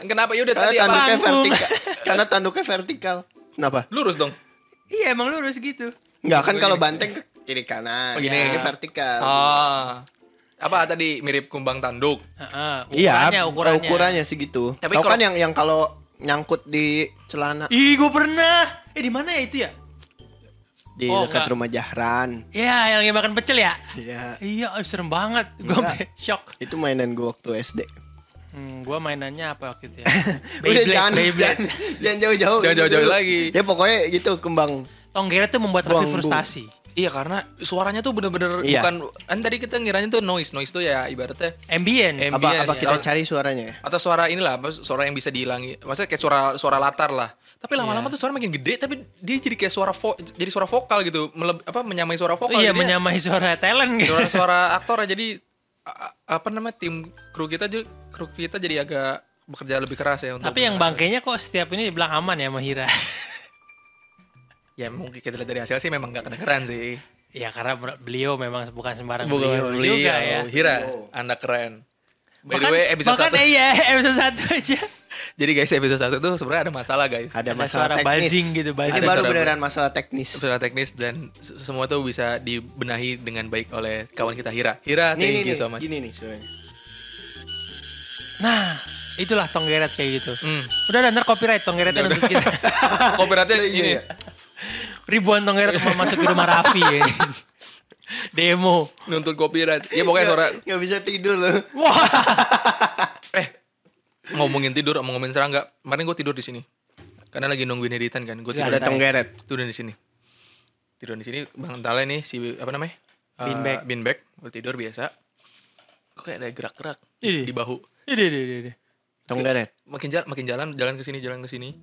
S3: Kenapa? Yaudah
S2: Karena
S3: tadi apa?
S2: tanduknya
S1: Bang Bung.
S2: vertikal. Karena tanduknya vertikal. Kenapa?
S3: Lurus dong
S1: Iya, emang lurus gitu.
S2: Enggak kan kalau banteng ke kiri kanan.
S3: Oh, gini.
S2: Ini vertikal.
S3: Ah Apa tadi mirip kumbang tanduk?
S1: Heeh,
S2: Iya,
S1: ukurannya, ukurannya.
S2: ukurannya segitu.
S3: Tapi
S2: Tapi Tau
S3: kalau-
S2: kan yang yang kalau nyangkut di celana
S1: Ih, gue pernah. Eh, di mana ya itu ya?
S2: di
S1: Oh,
S2: dekat
S1: enggak.
S2: rumah Jahran.
S1: Ya, yang makan pecel ya?
S2: Iya.
S1: Iya, aduh, serem banget. Gue
S2: Enggak.
S1: sampai shock.
S2: Itu mainan gue waktu SD.
S1: Hmm, gue mainannya apa waktu itu ya?
S2: Udah
S1: Beyblade,
S2: jangan,
S1: Beyblade.
S2: jangan, jangan jauh-jauh.
S3: Jangan
S2: Itu
S3: jauh-jauh
S2: dulu.
S3: lagi.
S2: Ya pokoknya gitu kembang.
S1: Tonggeret tuh membuat Raffi
S2: Buang, Bung.
S1: frustasi.
S3: Iya karena suaranya tuh bener-bener
S2: Iya.
S3: bukan Kan tadi kita ngiranya tuh noise Noise tuh ya ibaratnya
S1: Ambience.
S3: Em-
S2: Apa
S3: Bias,
S2: apa kita
S3: ya.
S2: cari suaranya ya?
S3: atau suara inilah apa, suara yang bisa dihilangi maksudnya kayak suara suara latar lah tapi lama-lama
S1: Iya.
S3: tuh suara makin gede tapi dia jadi kayak suara vo, jadi suara vokal gitu meleb, apa menyamai suara vokal
S1: iya,
S3: Jadinya
S1: menyamai suara talent gitu.
S3: suara-suara aktor ya, jadi a- a- apa namanya tim kru kita ju- kru kita jadi agak bekerja lebih keras ya untuk
S1: Tapi yang bangkainya kok setiap ini dibilang aman ya sama Hira.
S3: ya mungkin kita lihat dari hasil sih memang gak kedengeran sih
S1: ya karena ber- beliau memang bukan sembarang beliau,
S3: bukan
S1: juga ya.
S3: Hira anda keren by the
S1: Bahkan-
S3: way episode
S1: bahkan,
S3: satu
S1: eh, iya, episode 1 aja.
S3: jadi guys episode satu tuh sebenarnya ada masalah guys
S2: Ada,
S1: Ada
S2: masalah
S1: suara
S2: teknis.
S1: buzzing gitu, buzzing.
S2: Ini
S3: Ada
S2: baru
S3: suara
S2: beneran masalah teknis.
S3: secara teknis dan se- semua tuh bisa dibenahi dengan baik oleh kawan kita Hira. Hira,
S2: Nih nih nih,
S3: thank you so much.
S2: gini nih suaranya.
S1: Nah, itulah tonggeret kayak gitu.
S3: Hmm.
S1: Udah ada ntar copyright tonggeretnya
S3: Udah,
S1: nuntut kita.
S3: Copyrightnya
S2: Iya,
S3: ini.
S2: iya.
S1: Ribuan tonggeret mau masuk ke rumah Raffi ya. Demo.
S3: Nuntut copyright. Ya
S2: Iya.
S3: pokoknya suara eh,
S2: Gak bisa tidur loh.
S3: ngomongin tidur, ngomongin serangga. Kemarin gue tidur di sini. Karena lagi nungguin editan kan. Gue tidur,
S2: Ada tenggeret.
S3: tidur di sini. Tidur di sini Bang Tale nih si apa namanya? Eh,
S1: Beanbag.
S3: beanbag. Gua tidur biasa. Kok kayak ada gerak-gerak
S1: Ih.
S3: di bahu.
S1: Ide, ide, ide, ide.
S2: Tenggeret.
S3: Makin jalan, makin jalan, jalan ke sini, jalan ke sini.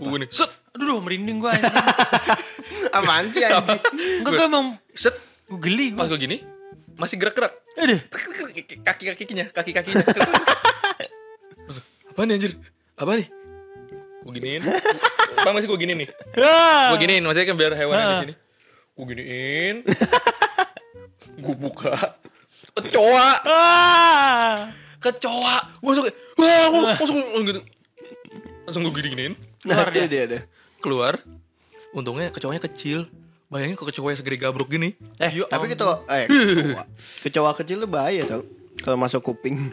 S3: Gue nih, set,
S1: Aduh, duh, merinding gue.
S2: Apaan sih anjing?
S1: Enggak, gue emang
S3: set.
S1: gue geli
S3: Pas
S1: gue.
S3: gue gini, masih gerak-gerak.
S1: Aduh.
S3: kaki-kakinya, kaki-kakinya. Terus, apa nih anjir? Apa nih? Gue giniin. Bang masih gue giniin nih.
S1: Ya.
S3: Gue giniin, maksudnya kan biar hewan yang di sini. Gue giniin. gue buka. Kecoa,
S1: Ah.
S3: kecoa. Gue langsung kayak, wah, gua langsung gitu. Langsung gue giniin,
S2: Nah, itu dia ada.
S3: keluar. Untungnya kecoanya kecil. Bayangin kok kecoanya segede gabruk gini.
S2: Eh,
S3: Ya
S2: tapi
S3: ampun.
S2: kecoa, eh, kecoa. kecoa kecil tuh bahaya tau. Kalau masuk kuping.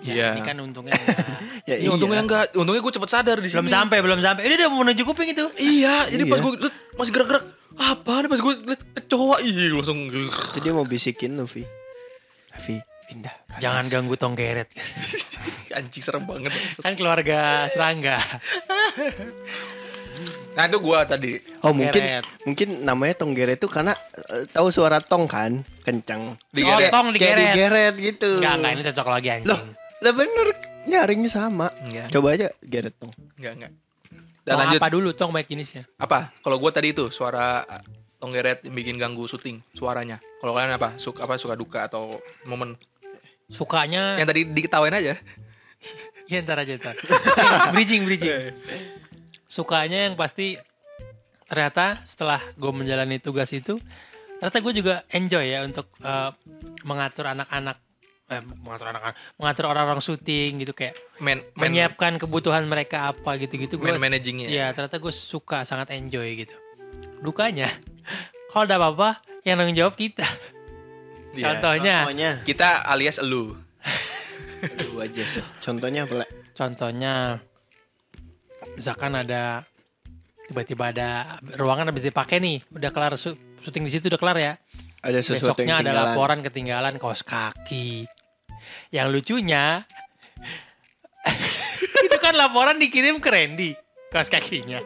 S3: Iya.
S1: Ini kan untungnya. enggak.
S2: Ya,
S3: Iya, untungnya enggak, untungnya gue cepet sadar di sini.
S1: belum sampai, belum sampai. Ini udah mau menuju kuping itu.
S3: Iya, jadi pas
S2: Iya.
S3: gue masih gerak-gerak. Apa nih pas gue liat kecoa? Iya, gua langsung
S2: Itu dia mau bisikin lu, Vi. Vi, pindah.
S1: Jangan ganggu tonggeret.
S3: anjing serem banget.
S1: kan keluarga serangga.
S3: Nah, itu gue tadi.
S2: Oh mungkin
S1: Tonggeret.
S2: mungkin namanya tonggeret itu karena eh, tahu suara tong kan kencang.
S3: Digeret.
S2: Kayak-
S1: Tong
S2: kayak
S1: digeret.
S2: digeret gitu.
S1: Enggak, enggak ini cocok lagi
S2: Loh,
S1: anjing.
S2: lah bener nyaringnya sama.
S3: Iya.
S2: Coba aja geret tong.
S3: Enggak, enggak. Dan
S1: Mau
S3: Nah, lanjut
S1: apa
S3: apa?
S1: dulu tong baik jenisnya?
S3: Kalau gue tadi itu suara tonggeret yang bikin ganggu syuting suaranya. Kalau kalian apa? Suka apa suka duka atau momen
S1: Sukanya
S3: yang tadi diketawain aja.
S1: ya ntar aja ntar. bridging, bridging. Sukanya yang pasti ternyata setelah gue menjalani tugas itu ternyata gue juga enjoy ya untuk eh, mengatur anak-anak eh, mengatur anak-anak mengatur orang-orang syuting gitu kayak
S3: Men, men
S1: menyiapkan kebutuhan mereka apa gitu-gitu gue
S3: Man managingnya.
S1: ya ternyata gue suka sangat enjoy gitu dukanya kalau ada apa-apa yang nanggung jawab kita
S3: Iya.
S1: contohnya
S2: Contohnya.
S3: kita alias elu.
S2: Aduh aja sih. Contohnya apa? Le?
S1: contohnya misalkan ada tiba-tiba ada ruangan habis dipakai nih udah kelar su- syuting di situ udah kelar ya
S2: Ada sesuatu yang
S1: besoknya ada
S2: ketinggalan.
S1: laporan ketinggalan kaos kaki yang lucunya itu kan laporan dikirim ke Randy kaos kakinya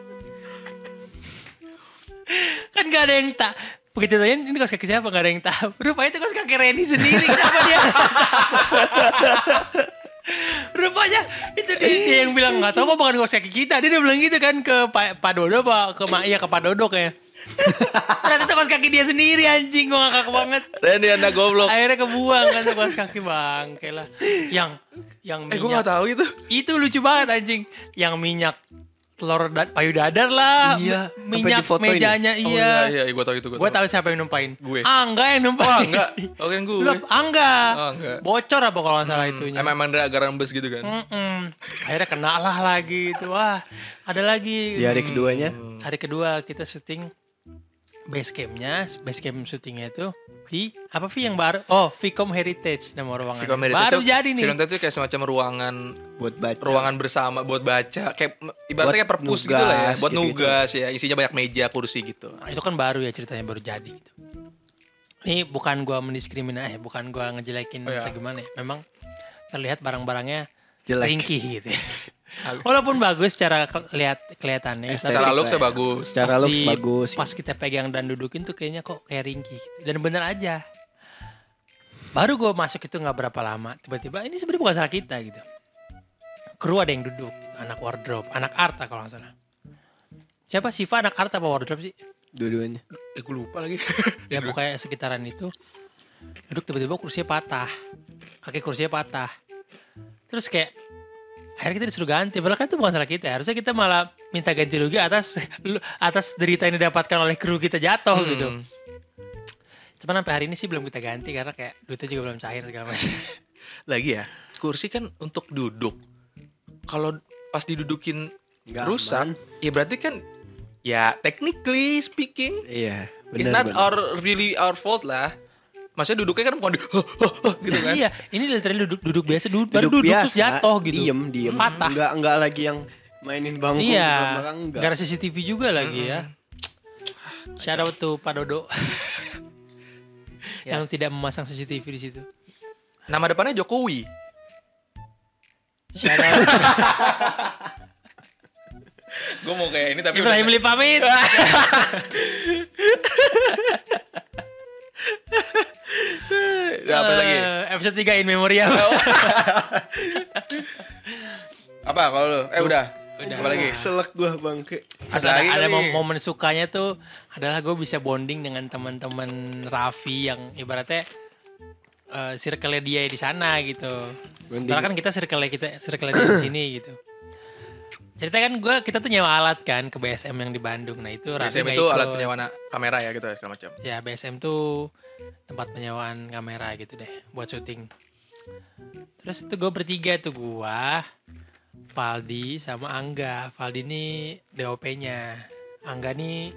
S1: kan gak ada yang tak begitu tanya ini kaos kaki siapa gak ada yang tahu rupanya itu kaos kaki Randy sendiri kenapa dia rupanya itu dia, dia yang bilang nggak tahu apa bukan kaos kaki kita dia udah bilang gitu kan ke Pak Pak Dodo pak ke Mak iya ke Pak Dodo kayak ternyata itu kaos kaki dia sendiri anjing gua ngakak banget
S3: Randy anda goblok.
S1: akhirnya kebuang kan tuh kaos kaki bangke lah yang yang
S3: Eh, gue
S1: minyak
S3: gak tahu itu.
S1: itu lucu banget anjing yang minyak telur da- payudadadar lah
S3: Iya,
S1: mi- minyak
S2: sampai difotoin ya?
S1: mejanya
S3: Oh,
S1: iya
S3: iya, gue tahu itu. Gue
S1: gue tahu siapa yang numpain
S3: Gue.
S1: angga yang numpain
S3: Oh, enggak. Oh, kan gue.
S1: Lu- angga
S3: Oh, Hmm, enggak.
S1: bocor apa kalau nggak salah itunya
S3: Emang emang ada garam bus gitu kan?
S1: Mm-mm. akhirnya kena lah lagi itu wah ada lagi
S2: Di hari keduanya
S1: hari kedua kita syuting base campnya base camp syutingnya itu di apa Vi yang baru oh Vicom Heritage nama ruangan
S3: Film Heritage
S1: Nah, baru
S3: tuh-
S1: jadi nih
S3: Film itu kayak semacam ruangan
S2: buat baca.
S3: ruangan bersama buat baca kayak
S2: Buat
S3: ibaratnya kayak perpus
S2: nugas,
S3: gitu lah ya buat
S2: gitu-gitu.
S3: nugas ya isinya banyak meja kursi gitu
S1: Nah, itu kan baru ya ceritanya baru jadi gitu. ini bukan gua mendiskriminasi eh, bukan gua ngejelekin
S3: Oh, iya.
S1: atau gimana ya. memang terlihat barang-barangnya
S2: Jelek.
S1: ringkih gitu ya. walaupun bagus secara keliat kelihatannya tapi
S3: secara
S2: Estetik lah
S3: looks
S2: ya.
S3: bagus
S2: Secara
S1: pas
S2: looks
S1: di-
S2: bagus.
S1: Pas kita pegang dan dudukin tuh kayaknya kok kayak ringkih. gitu. Dan bener aja. Baru gue masuk itu nggak berapa lama. Tiba-tiba ini sebenarnya bukan salah kita gitu. Kru ada yang duduk. gitu. Anak wardrobe. Anak Arta kalau nggak salah. Siapa Siva anak Arta apa wardrobe sih?
S2: Dua-duanya.
S3: eh gue lupa lagi
S1: Ya pokoknya sekitaran itu. Duduk tiba-tiba kursinya patah. Kaki kursinya patah. Terus kayak akhirnya kita disuruh ganti padahal kan itu bukan salah kita harusnya kita malah minta ganti rugi atas atas derita yang didapatkan oleh kru kita jatuh gitu
S3: Hmm.
S1: Cuman sampai hari ini sih belum kita ganti karena kayak duitnya juga belum cair segala macam.
S3: lagi ya kursi kan untuk duduk kalau pas didudukin
S2: Nggak
S3: rusak
S2: aman.
S3: ya berarti kan ya technically speaking
S2: Iya.
S3: it's
S2: Benar.
S3: not our really our fault lah maksudnya duduknya kan bukan di gitu kan
S1: iya, ini literally duduk duduk biasa duduk, baru duduk terus jatuh gitu.
S2: Diem, diem.
S1: Patah.
S2: Enggak, enggak lagi yang mainin bangku.
S1: iya.
S2: di belakang, enggak.
S1: Gara CCTV Ah, juga lagi ya. Shout out to Pak Dodo. yang tidak memasang CCTV di situ.
S3: Nama depannya Jokowi.
S1: Shout out
S3: Gue mau kayak ini tapi
S1: Ibrahim
S3: udah,
S1: Lipamit.
S3: udah Ya, apa lagi?
S1: Eh, Episode 3 in memoriam.
S3: Apa kalau lu? Eh udah.
S1: Udah.
S3: Apa lagi?
S2: Selek gua bangke.
S1: Terus ada, ada mom- momen sukanya tuh adalah gue bisa bonding dengan teman-teman Raffi yang ibaratnya eh circle dia di sana gitu. Sementara kan kita circle kita circle dia di sini gitu. Cerita kan gue kita tuh nyewa alat kan ke BSM yang di Bandung. Nah itu Raffi
S3: SM
S1: nggak
S3: itu
S1: ikut.
S3: alat penyewana kamera ya gitu segala macam.
S1: Ya BSM tuh tempat penyewaan kamera gitu deh buat syuting. Terus itu gue bertiga tuh gua, Valdi sama Angga. Valdi ini DOP-nya. Angga nih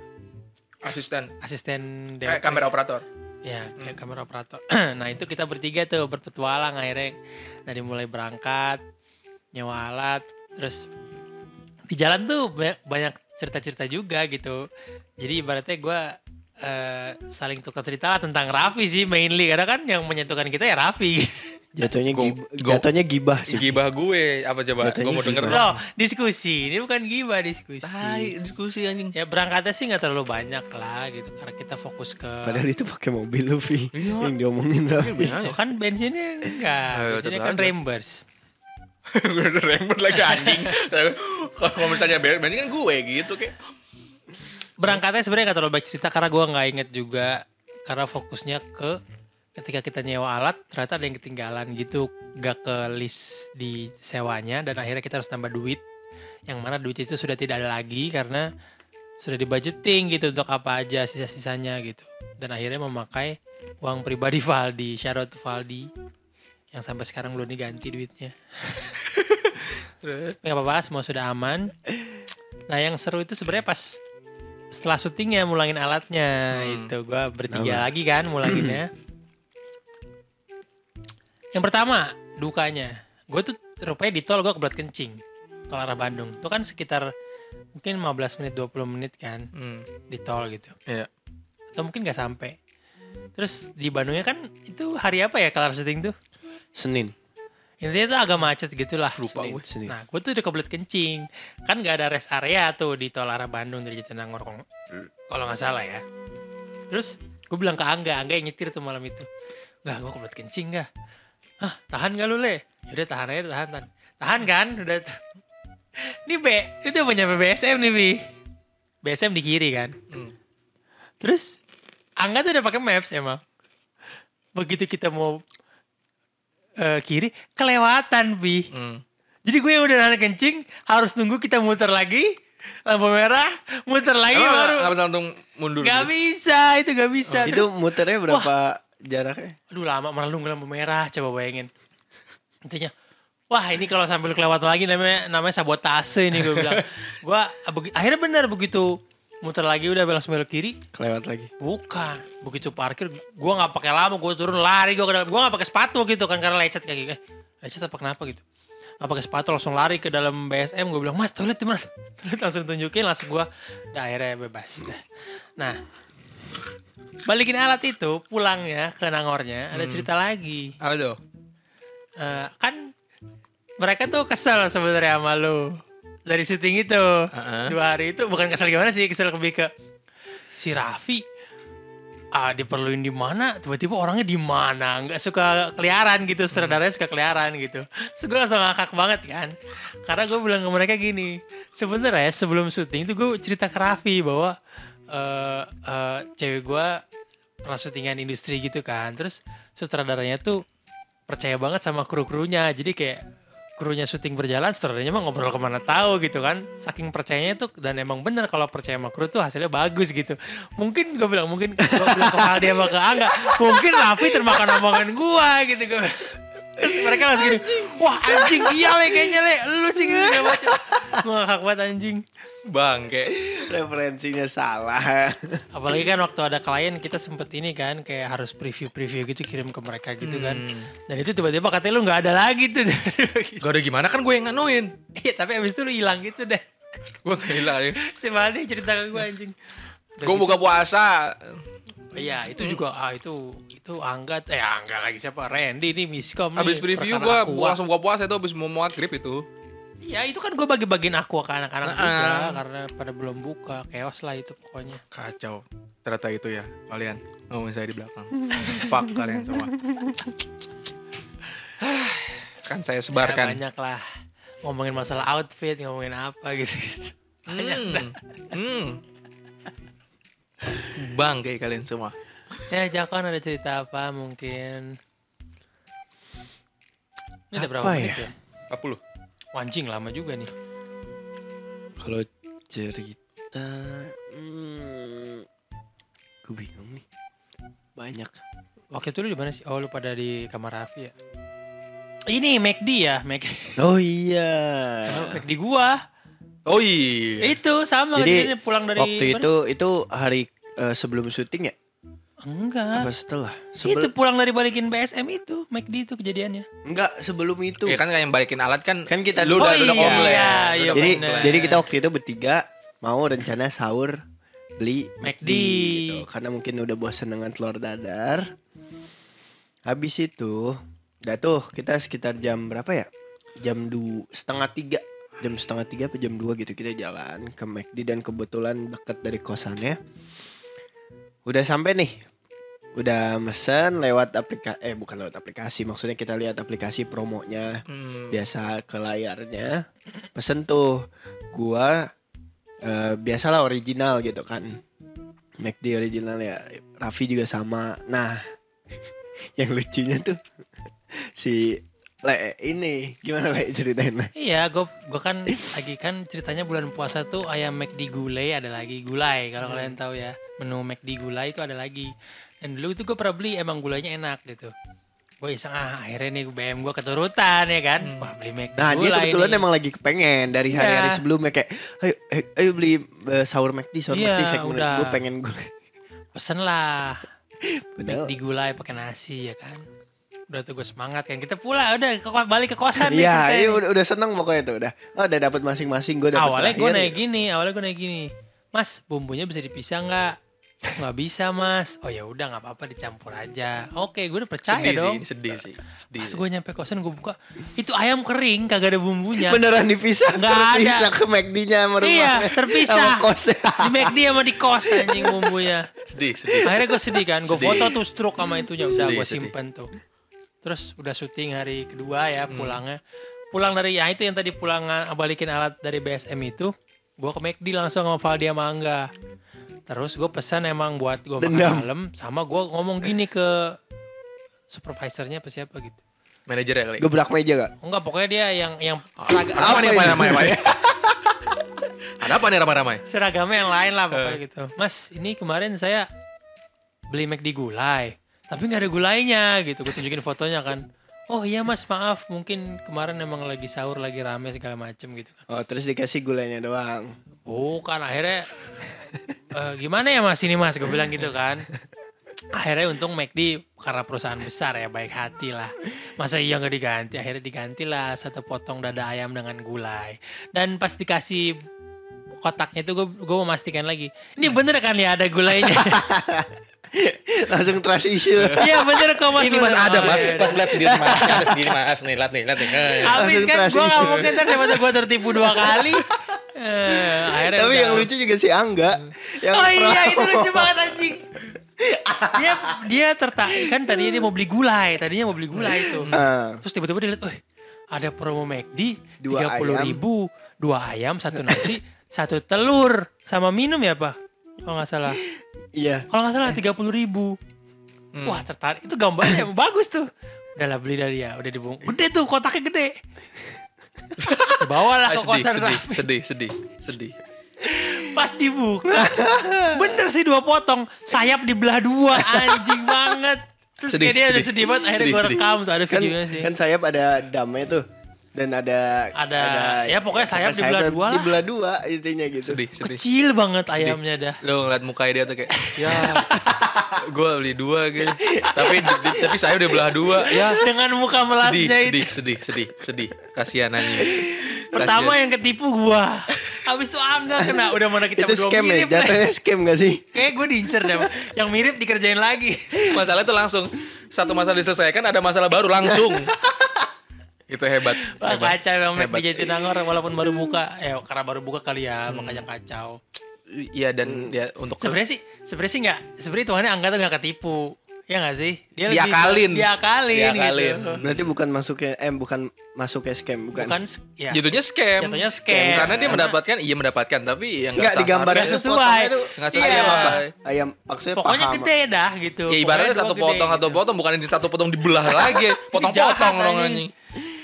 S3: Asisten.
S1: asisten DOP.
S3: Kayak kamera operator.
S1: Ya, kayak kamera operator. nah, itu kita bertiga tuh berpetualang akhirnya dari mulai berangkat, nyewa alat, terus di jalan tuh ba- banyak cerita-cerita juga gitu. Jadi ibaratnya gua eh, saling tukar cerita lah tentang Raffi sih mainly karena kan yang menyatukan kita ya Raffi.
S2: Jatuhnya
S3: Go-
S2: gib-
S3: go-
S2: jatuhnya gibah sih.
S3: Gibah gue apa coba?
S2: Katanya
S3: Gue mau denger dong.
S1: Bro, diskusi ini bukan gibah diskusi.
S3: diskusi anjing.
S1: Ya berangkatnya sih nggak terlalu banyak lah gitu karena kita fokus ke
S2: Padahal itu pakai mobil lu, Vi. Yang diomongin Raffi.
S3: ya?
S1: Tuh kan bensinnya enggak,
S3: Ayo,
S1: bensinnya
S3: tetep
S1: kan
S3: aja.
S1: reimburse.
S3: gue udah rembet lagi anjing. Kalau misalnya ber, berarti kan gue gitu kayak.
S1: berangkatnya sebenarnya nggak terlalu baik cerita karena gua nggak inget juga karena fokusnya ke ketika kita nyewa alat ternyata ada yang ketinggalan gitu gak ke list di sewanya dan akhirnya kita harus tambah duit yang mana duit itu sudah tidak ada lagi karena sudah di budgeting gitu untuk apa aja sisa-sisanya gitu dan akhirnya memakai uang pribadi Valdi shout out to Valdi yang sampai sekarang belum diganti duitnya nggak apa-apa semua sudah aman nah yang seru itu sebenarnya pas setelah syutingnya mulangin alatnya itu gua bertiga lagi kan mulanginnya yang pertama dukanya gue tuh rupanya di tol gue kebelat kencing tol arah Bandung itu kan sekitar mungkin 15 menit 20 menit kan
S3: Hmm.
S1: di tol gitu
S3: Iya.
S1: atau mungkin nggak sampai terus di Bandungnya kan itu hari apa ya kelar syuting tuh
S2: Senin.
S1: intinya tuh agak macet gitulah
S3: Lupa
S2: Senin,
S3: gue.
S2: Senin.
S1: Nah, gue tuh udah kebelet kencing. Kan gak ada rest area tuh di tol arah Bandung dari Jatinangor kalau kalau nggak salah ya. Terus gue bilang ke Angga, Angga yang nyetir tuh malam itu. Gak, gue kebelet kencing gak? Hah, tahan gak lu, Le? Udah tahan aja, tahan, tahan. Tahan kan? Udah. tuh. Ini B, udah mau nyampe BSM nih, Bi. BSM di kiri kan?
S3: Hmm.
S1: Terus Angga tuh udah pakai maps emang. Begitu kita mau eh, kiri, kelewatan, Bi.
S3: Hmm.
S1: Jadi gue yang udah nahan kencing harus nunggu kita muter lagi lampu merah, muter lagi
S3: Emang
S1: baru.
S3: nggak- Oh, nggak bisa langsung mundur.
S1: Gak
S3: gitu?
S1: bisa, itu gak bisa.
S2: Itu
S1: Terus,
S2: muternya berapa jaraknya?
S1: aduh lama malah nunggu lampu merah, coba bayangin. Intinya, wah ini kalau sambil kelewatan lagi namanya namanya sabotase ini gue bilang. gue abeg- akhirnya benar begitu muter lagi udah langsung belok kiri,
S2: Kelewat lagi.
S1: Bukan. Begitu parkir, gua nggak pakai lama, gua turun lari, gua ke dalam. Gua nggak pakai sepatu gitu kan karena lecet kayak Eh, lecet apa kenapa gitu? Nggak pakai sepatu langsung lari ke dalam BSM. Gue bilang, Mas toilet di mana? Toilet langsung tunjukin, langsung gua Nah, akhirnya bebas. Dah. Nah, balikin alat itu pulangnya ke Nangornya ada cerita lagi.
S3: Ada tuh.
S1: Eh, kan mereka tuh kesel sebenarnya sama lu dari syuting itu
S3: Heeh.
S1: dua hari itu bukan kesel gimana sih kesel lebih ke si Raffi ah diperluin di mana tiba-tiba orangnya di mana nggak suka keliaran gitu sutradaranya suka keliaran gitu terus gue langsung ngakak banget kan karena gue bilang ke mereka gini sebenernya sebelum syuting itu gue cerita ke Raffi bahwa eh eh, cewek gue pernah syutingan industri gitu kan terus sutradaranya tuh percaya banget sama kru-krunya jadi kayak krunya syuting berjalan sutradaranya mah ngobrol kemana tahu gitu kan saking percayanya tuh dan emang bener kalau percaya sama kru tuh hasilnya bagus gitu mungkin gue bilang mungkin gue bilang ke Aldi sama ke Angga mungkin Raffi termakan omongan gue gitu gue bilang. Terus mereka langsung gini wah anjing iya le kayaknya le lu sih gitu, gini gak baca gue ngakak banget anjing
S3: Bang kayak
S2: Referensinya salah.
S1: apalagi kan waktu ada klien kita sempet ini kan kayak harus preview-preview gitu kirim ke mereka gitu kan dan itu tiba-tiba katanya lu nggak ada lagi tuh
S3: gak ada gimana kan gue yang nganuin.
S1: Iya tapi abis itu lu hilang gitu deh
S3: Gue gila ya.
S1: Si Maldi cerita ke gue anjing
S3: Gue buka puasa.
S1: Iya, itu juga ah itu itu Angga eh Angga lagi siapa? Randy nih miskom nih.
S3: Abis preview
S1: rekan
S3: gua,
S1: aku.
S3: gua langsung gua puasa itu abis mau maghrib itu.
S1: Iya, itu kan gua bagi-bagiin aku ke anak-anak
S3: Nah,
S1: juga
S3: ah.
S1: karena pada belum buka. Chaos lah itu pokoknya.
S3: Kacau. Ternyata itu ya kalian ngomongin saya di belakang. Fuck kalian semua. kan saya
S1: Ya,
S3: sebarkan.
S1: banyak lah ngomongin masalah outfit, ngomongin apa gitu. Banyak.
S3: Hmm. Hmm. Bangke kalian semua.
S1: Ya, Jakon ada cerita apa mungkin? Ini ada berapa
S2: Apa
S1: menit ya?
S3: 40.
S1: Anjing lama juga nih.
S2: Kalau cerita, hmm, gue bingung nih. Banyak.
S1: Waktu itu lu di mana sih? Oh, lu pada di kamar Raffi ya. Ini McD ya, McD.
S2: Oh iya.
S1: McD gua.
S3: Oh iya.
S1: Itu sama
S2: Jadi,
S1: kejadiannya, pulang dari
S2: Waktu
S1: ber-
S2: itu itu hari eh, sebelum syuting ya?
S1: enggak.
S2: Apa setelah?
S1: Ah, itu
S2: Sebelum
S1: pulang dari balikin BSM itu, McD itu kejadiannya.
S2: enggak sebelum itu.
S1: Iya,
S3: Ya kan kayak yang balikin alat kan.
S2: Kan kita-
S3: lu udah
S1: Oh
S3: udah
S1: iya, iya,
S3: komplain. Lu
S1: iya,
S3: udah
S2: jadi
S1: bener.
S3: komplain.
S2: jadi kita waktu itu bertiga mau rencana sahur beli
S1: McD.
S2: gitu. karena mungkin udah bosan dengan telur dadar habis itu udah tuh kita sekitar jam berapa ya jam du setengah tiga jam setengah tiga apa jam dua gitu kita jalan ke McD dan kebetulan deket dari kosannya udah sampai nih udah mesen lewat aplikasi eh bukan lewat aplikasi maksudnya kita lihat aplikasi promonya
S3: Hmm.
S2: biasa ke layarnya pesen tuh gua eh, biasalah original gitu kan McD original ya Raffi juga sama nah yang lucunya tuh si Le ini gimana Le ceritain Le
S1: Iya, gue gua kan lagi kan ceritanya bulan puasa tuh ayam McD gulai ada lagi gulai kalau
S2: Hmm.
S1: kalian tahu ya menu McD gulai itu ada lagi. Dan dulu itu gue pernah beli emang gulanya enak gitu. Gue iseng ah akhirnya nih BM gue keturutan ya kan. Wah beli McD
S2: nah dia
S1: gulai
S2: kebetulan
S1: nih.
S2: emang lagi kepengen dari
S1: Iya.
S2: hari-hari sebelumnya kayak ayo ayo, ayo beli eh, sahur McD sahur
S1: Iya,
S2: McD saya kemudian,
S1: udah.
S2: gua pengen gue
S1: pesen lah
S2: Bener.
S1: McD gulai pakai nasi ya kan. Udah tuh gue semangat kan kita pulang udah ke, balik ke kosan nih
S2: Iya,
S1: ceritanya.
S2: iya udah, udah seneng pokoknya tuh udah. Oh, udah dapat masing-masing gua dapat.
S1: awalnya gue
S2: terakhir. ya.
S1: naik gini awalnya gue naik gini mas bumbunya bisa dipisah nggak nggak bisa mas oh ya udah nggak apa-apa dicampur aja oke gue udah percaya
S3: Sedih sih,
S1: dong
S3: ini sedih sih. Sedih.
S1: pas
S3: sih.
S1: gue nyampe kosan gue buka itu ayam kering kagak ada bumbunya
S2: Beneran dipisah
S1: Ya. Nggak
S2: terpisah
S1: ada.
S2: ke McD-nya sama rumahnya.
S1: iya
S2: Sama
S1: terpisah
S2: kosnya.
S1: di McD sama di kos anjing bumbunya
S3: Sedih, sedih.
S1: akhirnya gue sedih kan gue
S3: Sedih.
S1: foto tuh stroke sama itunya udah
S3: Sedih,
S1: gue
S3: sedih.
S1: simpen tuh terus udah syuting hari kedua ya
S3: Hmm.
S1: pulangnya pulang dari ya itu yang tadi pulang ah, balikin alat dari BSM itu gue ke McD langsung sama Valdi sama Angga terus gue pesan emang buat gue makan
S2: Dendam.
S1: malam sama gue ngomong gini ke supervisornya apa siapa gitu Oh,
S3: Manajer ya kali.
S2: Gebrak meja gak?
S1: enggak pokoknya dia yang yang
S3: Seragam. Apa nih
S2: Apa ini?
S3: ramai-ramai? Ada apa nih ramai-ramai?
S1: seragamnya yang lain lah pokoknya gitu. Mas, ini kemarin saya beli McD gulai, tapi nggak ada gulainya gitu. Gue tunjukin fotonya kan. Oh iya mas, maaf mungkin kemarin emang lagi sahur, lagi rame segala macem gitu kan.
S2: Oh, terus dikasih gulanya doang.
S1: Bukan akhirnya "Eh, gimana ya mas ini mas, gue bilang gitu kan. Akhirnya untung McD karena perusahaan besar ya baik hati lah. Masa iya nggak diganti? Akhirnya digantilah satu potong dada ayam dengan gulai. Dan pas dikasih kotaknya itu gue gue memastikan lagi ini bener kan ya ada gulainya
S2: Langsung trust issue.
S1: iya bener kok mas
S3: ini mas
S1: Bener.
S3: ada
S1: Oh,
S3: mas,
S1: iya,
S3: mas lihat sendiri mas, Ini ada sendiri mas, nih lihat nih lihat nih. Eh,
S1: iya. abis
S2: Langsung
S1: kan
S2: trust
S1: gue gak
S2: issue.
S1: mungkin ntar daripada gue tertipu dua kali Eh, akhirnya
S2: Tapi
S1: udah.
S2: yang lucu juga si Angga. Yang
S1: oh iya
S2: promo.
S1: itu lucu banget anjing dia dia tertarik kan tadinya dia mau beli gulai tadinya mau beli gulai itu
S2: Ah.
S1: terus tiba-tiba dia lihat "Wih, ada promo McD
S2: Dua
S1: tiga
S2: ayam.
S1: ribu dua ayam satu nasi satu telur sama minum ya pak kalau nggak salah
S2: Iya.
S1: Kalau nggak salah tiga puluh ribu. Wah tertarik. Itu gambarnya bagus tuh. Udah lah beli dari ya. Udah dibung. Gede tuh kotaknya gede. Bawalah ke
S3: sedih,
S1: Ah, kosan
S3: sedih,
S1: Raffi.
S3: sedih, sedih, sedih.
S1: Pas dibuka. bener sih dua potong. Sayap dibelah dua. Anjing banget. Terus
S3: Sedih,
S1: kayak dia udah
S3: sedih.
S1: sedih banget. Akhirnya
S3: Sedih,
S1: gue
S3: sedih.
S1: rekam tuh. Ada
S2: Kan,
S1: videonya sih.
S2: kan sayap ada damnya tuh. Dan ada,
S1: Ada- ya, pokoknya sayap dibelah
S2: sayapnya
S1: dua lah.
S2: Dibelah dua intinya gitu.
S3: Sedih, sedih.
S1: Kecil banget ayamnya dah.
S3: Lo ngeliat mukanya dia tuh kayak, ya, gue beli dua gitu. Tapi di- tapi saya udah belah dua, ya.
S1: Dengan muka
S3: Sedih,
S1: melasnya itu.
S3: sedih, sedih, sedih, sedih. Kasihan
S1: ya.
S3: anjing.
S1: Pertama yang ketipu gua. Habis itu Angga kena. Udah mana kita
S2: itu
S1: berdua
S2: scam ya
S1: mirip. eh. Nay.
S2: jatuhnya scam gak sih
S1: Kayaknya gue diincer deh. Yang mirip dikerjain lagi.
S3: Masalah itu langsung satu masalah diselesaikan ada masalah baru langsung. itu hebat.
S1: Wah
S3: hebat.
S1: kacau Bang Mac
S3: Hebat. Hmm.
S1: di Jatinangor walaupun baru buka. Eh karena baru buka kali ya makanya kacau.
S3: Iya dan dia untuk
S1: Sebenernya sih, sebenernya sih nggak, sebenernya Tuhannya Angga tuh nggak ketipu. Ya nggak sih? Dia
S3: Diakalin.
S1: diakalin,
S3: Diakalin.
S1: gitu.
S2: berarti bukan masuknya eh bukan masuknya scam bukan,
S1: Bukan, s- ya.
S3: jatuhnya scam.
S1: Jatuhnya scam.
S3: Karena dia mendapatkan, iya mendapatkan, tapi yang
S2: Nggak, digambarnya
S1: Nggak sesuai.
S3: Nggak
S1: Iya.
S3: sesuai sama apa.
S2: ayam maksudnya
S1: Pokoknya
S2: paham.
S1: gede dah gitu.
S3: Ya ibaratnya
S1: Pokoknya
S3: satu
S1: dua gede,
S3: potong atau
S1: gitu.
S3: potong bukan di satu potong dibelah lagi, potong-potong
S1: Jahat,
S3: dong
S1: anjing.
S3: anjing.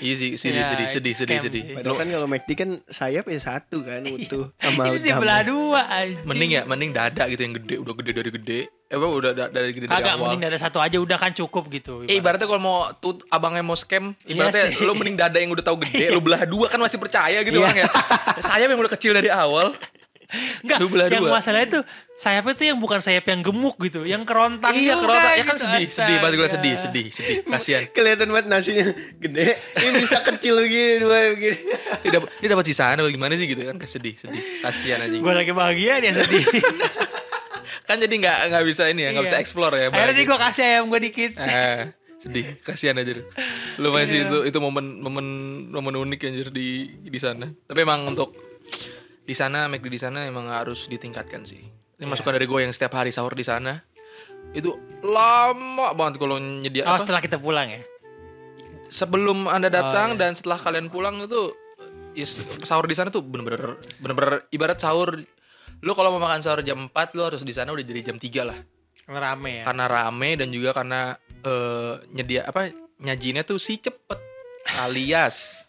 S3: Iya sih, sedih,
S1: Ya,
S3: sedih,
S1: it's
S3: sedih, sedih,
S1: scam
S3: sedih.
S1: sih.
S2: Padahal kan kalau McD kan sayap ya satu
S3: Iya.
S2: kan utuh sama
S1: Ini
S2: gam.
S1: dibelah dua anjing.
S3: Mending ya, mending dada gitu yang gede, udah gede dari gede. Eh, apa, udah da- dari gede dari
S1: Agak
S3: awal.
S1: mending ada satu aja udah kan cukup gitu.
S3: Eh, ibaratnya kalau mau tut, abangnya mau scam,
S1: Iya
S3: ibaratnya
S1: sih. Iya.
S3: lu mending dada yang udah tahu gede, lu belah dua kan masih percaya gitu orang ya. Sayap yang udah kecil dari awal.
S1: Enggak,
S3: Lu belah
S1: yang
S3: dua.
S1: masalahnya tuh sayapnya tuh yang bukan sayap yang gemuk gitu, yang kerontang
S3: Iya,
S1: juga
S3: kerotak. Ya kan
S1: gitu,
S3: sedih, sedih, pasti gue
S1: astaga.
S3: sedih, sedih, sedih. Kasihan.
S2: kelihatan banget nasinya gede ini bisa kecil gini dua begini
S3: Ini dapat ini dapat sisaan apa gimana sih gitu kan sedih, sedih. Kasihan anjing.
S1: Gue lagi bahagia dia sedih.
S3: Kan jadi nggak nggak bisa ini ya, nggak bisa
S1: Iya.
S3: explore ya.
S1: Akhirnya
S3: bagi.
S1: nih gue kasih ayam gue dikit.
S3: Ah, sedih kasihan aja lu.
S1: Iya.
S3: lumayan sih itu itu momen momen momen unik anjir di di sana tapi emang untuk di sana McD di sana emang harus ditingkatkan sih
S1: Iya.
S3: ini masukan dari gue yang setiap hari sahur di sana itu lama banget kalau nyedia
S1: Oh
S3: apa,
S1: setelah kita pulang ya.
S3: sebelum anda
S1: Oh, iya.
S3: datang dan setelah kalian pulang itu ya, sahur di sana tuh bener-bener bener-bener ibarat sahur lu kalau mau makan sahur jam 4 lu harus di sana udah jadi jam 3 lah
S1: Rame ya.
S3: karena rame dan juga karena eh, nyedia apa nyajinya tuh si cepet alias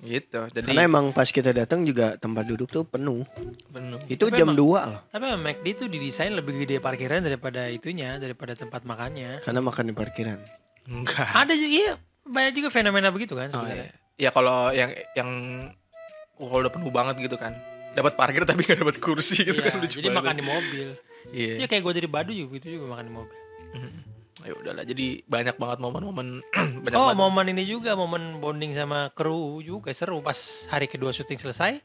S3: gitu jadi
S2: karena emang pas kita datang juga tempat duduk tuh penuh
S3: penuh
S2: itu
S1: Tapi
S2: jam
S1: emang-
S2: 2 loh
S1: Tapi emang McD itu didesain lebih gede parkiran daripada itunya, daripada tempat makannya.
S2: karena makan di parkiran
S3: enggak
S1: Ada juga iya, banyak juga fenomena begitu kan sebenarnya.
S3: ya kalau yang yang oh, kalau udah penuh banget gitu kan dapat parkir tapi gak dapat kursi gitu
S1: Iya,
S3: kan lucu
S1: jadi
S3: banget.
S1: makan di mobil.
S3: iya
S1: Ya kayak gue dari Badu juga gitu juga makan di mobil.
S3: ya udahlah jadi banyak banget momen-momen banyak
S1: Oh,
S3: banget
S1: momen ini juga momen bonding sama kru juga seru pas hari kedua syuting selesai.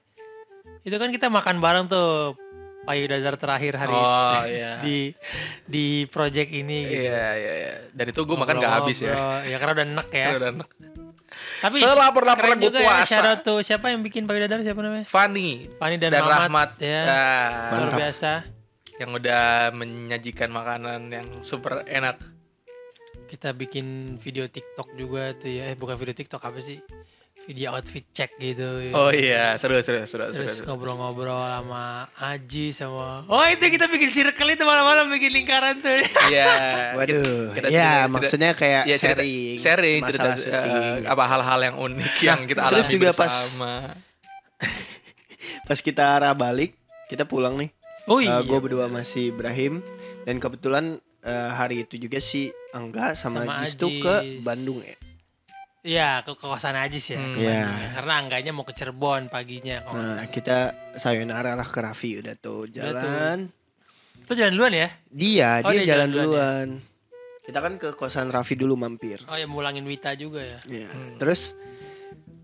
S1: Itu kan kita makan bareng tuh payudara terakhir hari
S3: oh iya
S1: di di project ini gitu.
S3: iya iya iya. dan itu gue makan gak habis ya
S1: Ngobrol-ngobrol. Ya karena udah enak ya.
S3: Udah enak.
S1: Tapi
S3: Selapar-lapar
S1: keren
S3: gua
S1: juga ya,
S3: puasa.
S1: shout out tuh siapa yang bikin payudara siapa namanya?
S3: Fani
S1: Fani dan,
S3: dan,
S1: Mamat,
S3: Rahmat
S1: ya.
S3: Ah,
S1: Luar
S2: Mantap.
S1: biasa.
S3: yang udah menyajikan makanan yang super enak.
S1: Kita bikin video TikTok juga tuh ya. Eh bukan video TikTok apa sih? Video outfit check gitu. ya.
S3: Oh iya, seru seru seru seru.
S1: Terus
S3: seru.
S1: ngobrol-ngobrol sama Aji sama Oh itu yang kita bikin circle itu malam-malam bikin lingkaran tuh ya.
S3: Iya.
S2: Waduh,
S3: kita- kita
S2: ya,
S3: cerita-
S2: maksudnya kayak
S3: Iya, cerita-
S2: sharing,
S3: sharing cerita
S2: masalah syuting.
S3: eh, apa hal-hal yang unik yang kita alami
S2: terus juga pas-
S3: bersama.
S2: pas kita arah balik kita pulang nih
S1: Oh
S3: iya.
S2: gue berdua masih Ibrahim dan kebetulan eh, hari itu juga si Angga sama,
S1: Sama
S2: Jis tuh
S1: Ajis.
S2: ke Bandung ya
S1: Iya ke, ke kosan Ajis ya
S3: Hmm.
S1: ke Bandung
S2: Iya.
S1: ya. Karena Angganya mau ke Cirebon paginya kalau nggak
S2: nah
S1: salah.
S2: kita sayonara lah ke Raffi udah tuh jalan
S1: Itu jalan duluan ya
S2: dia
S1: Oh,
S2: dia,
S1: dia
S2: jalan
S1: jalan duluan
S2: duluan kita kan ke kosan Raffi dulu mampir
S1: Oh ya mulangin Wita juga ya
S2: Iya. terus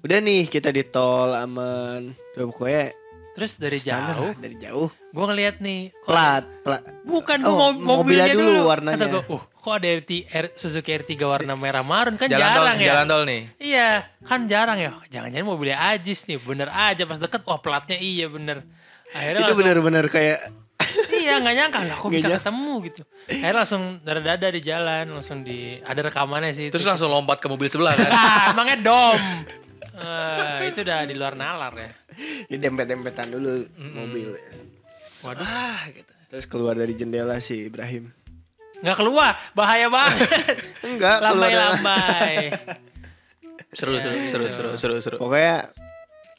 S2: udah nih kita di tol aman tuh pokoknya
S1: Terus dari
S2: standar
S1: jauh
S2: lah, dari jauh
S1: Gue ngeliat nih kok-
S2: pelat pelat
S1: Bukan gue
S2: Oh,
S1: mau
S2: mobilnya
S1: mobilnya,
S2: dulu
S1: dulu,
S2: warnanya.
S1: Kata gua, uh kok ada RT, R, Suzuki R3 warna merah marun kan
S3: Jalan tol,
S1: jarang ya
S3: jalan tol nih.
S1: Iya, kan jarang ya. Jangan-jangan mobilnya Ajis nih, bener aja pas deket. Wah pelatnya iya bener. Akhirnya
S2: itu
S1: langsung,
S2: benar-benar kayak
S1: iya nggak nyangka lah kok
S2: Nggak
S1: bisa
S2: nyangka.
S1: ketemu gitu. Akhirnya langsung dada-dada di jalan, langsung di ada rekamannya sih.
S3: Terus
S1: itu.
S3: langsung lompat ke mobil sebelah kan.
S1: Ah, emangnya dom. Eh, itu udah di luar nalar ya.
S2: ini dempet-dempetan dulu mobil
S1: Waduh,
S2: terus keluar dari jendela si Ibrahim
S1: nggak keluar, bahaya banget.
S2: enggak keluar dari-
S1: Lambai-lambai.
S3: Seru seru seru seru seru seru.
S2: Pokoknya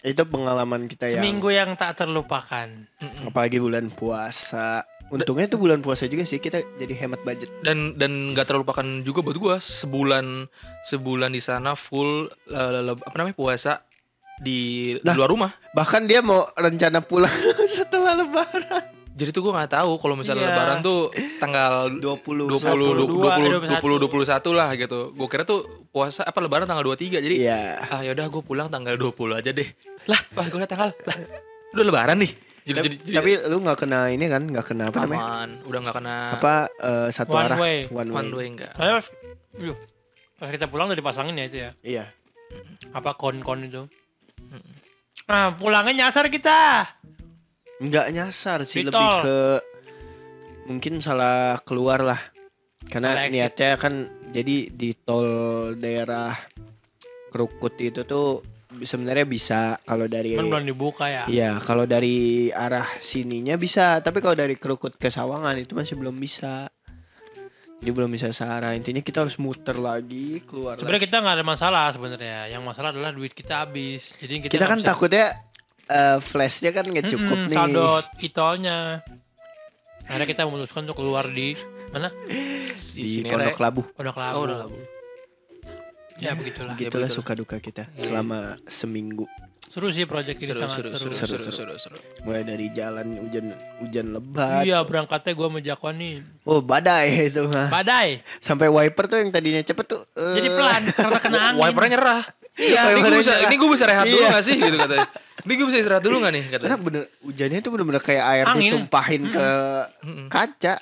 S2: itu pengalaman kita ya.
S1: Seminggu yang tak terlupakan.
S2: Apalagi bulan puasa. Untungnya itu bulan puasa juga sih kita jadi hemat budget.
S3: Dan dan nggak terlupakan juga buat gua sebulan sebulan di sana full eh, le- apa namanya puasa di, di
S2: Lah.
S3: luar rumah.
S2: Bahkan dia mau rencana pulang setelah lebaran.
S3: Jadi tuh gua nggak tahu kalau misalnya
S1: Iya.
S3: lebaran tuh tanggal
S2: 20,
S1: 22,
S3: 20 20 20 21 lah gitu. Gue kira tuh puasa apa lebaran tanggal 23. Jadi
S2: Iya.
S3: ah yaudah gue pulang tanggal 20 aja deh. Lah, pas gue liat tanggal lah Udah lebaran nih. Jadi,
S2: Tapi,
S3: jadi, jadi
S2: tapi lu nggak kena ini kan, nggak kena apa namanya?
S3: aman. Udah nggak kena
S2: Apa eh, satu
S1: One
S2: arah?
S1: way.
S2: One,
S3: one way enggak.
S1: Soalnya pas, yuh, pas kita pulang udah dipasangin ya itu ya.
S2: Iya.
S1: Apa kon-kon itu. Nah, pulangnya nyasar kita.
S2: Nggak nyasar sih,
S1: Di
S2: lebih
S1: tol.
S2: ke mungkin salah keluar lah.
S1: Salah
S2: Karena
S1: exit.
S2: niatnya kan jadi di tol daerah Krukut itu tuh sebenarnya bisa kalau dari
S1: Cuman belum dibuka ya.
S2: Iya, kalau dari arah sininya bisa, tapi kalau dari Krukut ke Sawangan itu masih belum bisa. Jadi belum bisa searah. Intinya kita harus muter lagi, keluar
S1: Sebenarnya
S2: lagi.
S1: kita nggak ada masalah sebenarnya. Yang masalah adalah duit kita habis. Jadi kita,
S2: Kita
S1: nggak
S2: kan
S1: bisa-
S2: takutnya eh, flashnya kan nggak cukup
S1: Mm-mm,
S2: nih.
S1: Saldo itolnya. Akhirnya kita memutuskan untuk keluar di mana?
S2: di
S3: Cinere.
S2: Pondok Labu.
S1: Pondok Labu.
S3: Oh, Pondok Labu.
S1: Ya begitulah.
S3: Gitu.
S2: Gitulah
S3: betul.
S2: suka duka kita
S1: Iya,
S2: selama seminggu.
S1: Seru sih proyek ini
S3: Seru,
S1: sangat
S3: seru,
S1: seru.
S3: seru,
S2: Seru,
S3: seru, seru, seru, seru.
S2: Mulai dari jalan hujan hujan lebat.
S1: Iya berangkatnya gue sama Jakwan nih.
S2: Oh, badai itu mah.
S1: Badai.
S2: Sampai wiper tuh yang tadinya cepet tuh. eh,
S1: Jadi pelan karena kena angin.
S3: Wipernya nyerah. ini gue
S2: wipernya
S3: bisa,
S2: Iya. nyerah.
S3: ini gue bisa rehat dulu
S2: Iya.
S3: gak sih? Gitu katanya. Ini gue bisa istirahat dulu gak nih?
S2: Karena
S3: Katanya.
S2: bener hujannya itu bener-bener kayak air
S1: Angin.
S2: ditumpahin ke
S3: Mm-mm.
S2: kaca.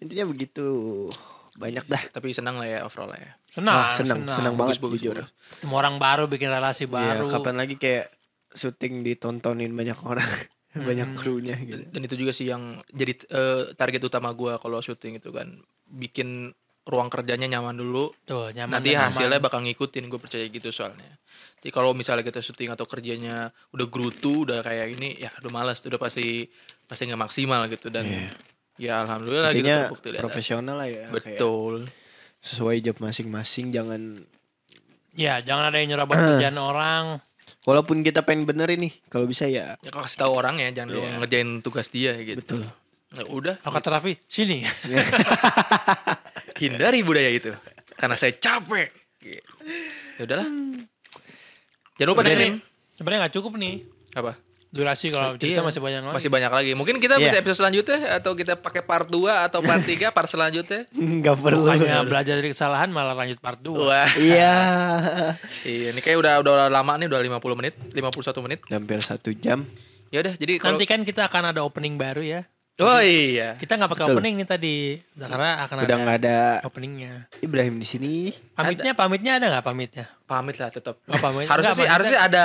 S2: Intinya begitu. Banyak dah.
S3: Tapi senang lah ya overall lah ya.
S1: Senang,
S2: Wah, senang, senang banget
S3: Bagus, bagus,
S2: jujur.
S3: bagus.
S1: Ketemu orang baru bikin relasi
S2: Iya,
S1: baru.
S2: kapan lagi kayak syuting ditontonin banyak orang, banyak krunya gitu.
S3: Dan itu juga sih yang jadi eh, target utama gue kalau syuting itu kan bikin ruang kerjanya nyaman dulu.
S1: Tuh, nyaman
S3: Nanti
S1: dan aman.
S3: hasilnya bakal ngikutin gue percaya gitu soalnya. Jadi kalau misalnya kita syuting atau kerjanya udah gerutu, udah kayak ini, ya udah malas, udah pasti pasti nggak maksimal gitu dan ya alhamdulillah gitu
S2: Intinya
S3: terbukti
S2: Iya.
S3: lihat.
S2: profesional lah ya. kayak
S3: Betul.
S2: sesuai job masing-masing jangan
S1: Ya, jangan ada yang nyerobot kerjaan orang.
S2: walaupun kita pengen benerin nih kalau bisa ya
S3: Ya kalau kasih tahu orang ya, jangan doang ngerjain tugas dia
S2: Iya.
S3: gitu.
S2: Betul.
S3: Ya udah,
S1: Kalau kata Raffi, sini.
S3: hindari budaya itu karena saya capek. Gitu. Ya udahlah. Jangan lupa
S2: Udah
S3: dengerin
S1: Sebenarnya nggak cukup nih.
S3: apa?
S1: Durasi kalau
S3: Iya,
S1: cerita masih banyak lagi.
S3: Masih banyak lagi. Mungkin kita
S2: Iya.
S3: bisa episode selanjutnya atau kita pakai part 2 atau part 3 part selanjutnya.
S2: nggak perlu.
S1: Bukannya belajar dari kesalahan malah lanjut part 2.
S3: Wah.
S2: Iya.
S3: Iya, ini kayak udah udah lama nih, udah 50 menit, 51 menit.
S2: Hampir satu jam.
S3: Ya udah, jadi kalau
S1: Nanti kan kita akan ada opening baru ya.
S3: Oh iya.
S1: Kita nggak pakai
S2: Betul.
S1: opening nih tadi. Karena akan
S2: Udah nggak
S1: ada,
S2: ada
S1: openingnya.
S2: Ibrahim di sini.
S1: Pamitnya, pamitnya ada nggak pamitnya?
S3: Pamit lah tetap.
S1: Oh, pamit. Enggak,
S3: Harusnya sih
S1: pamit
S3: harusnya ada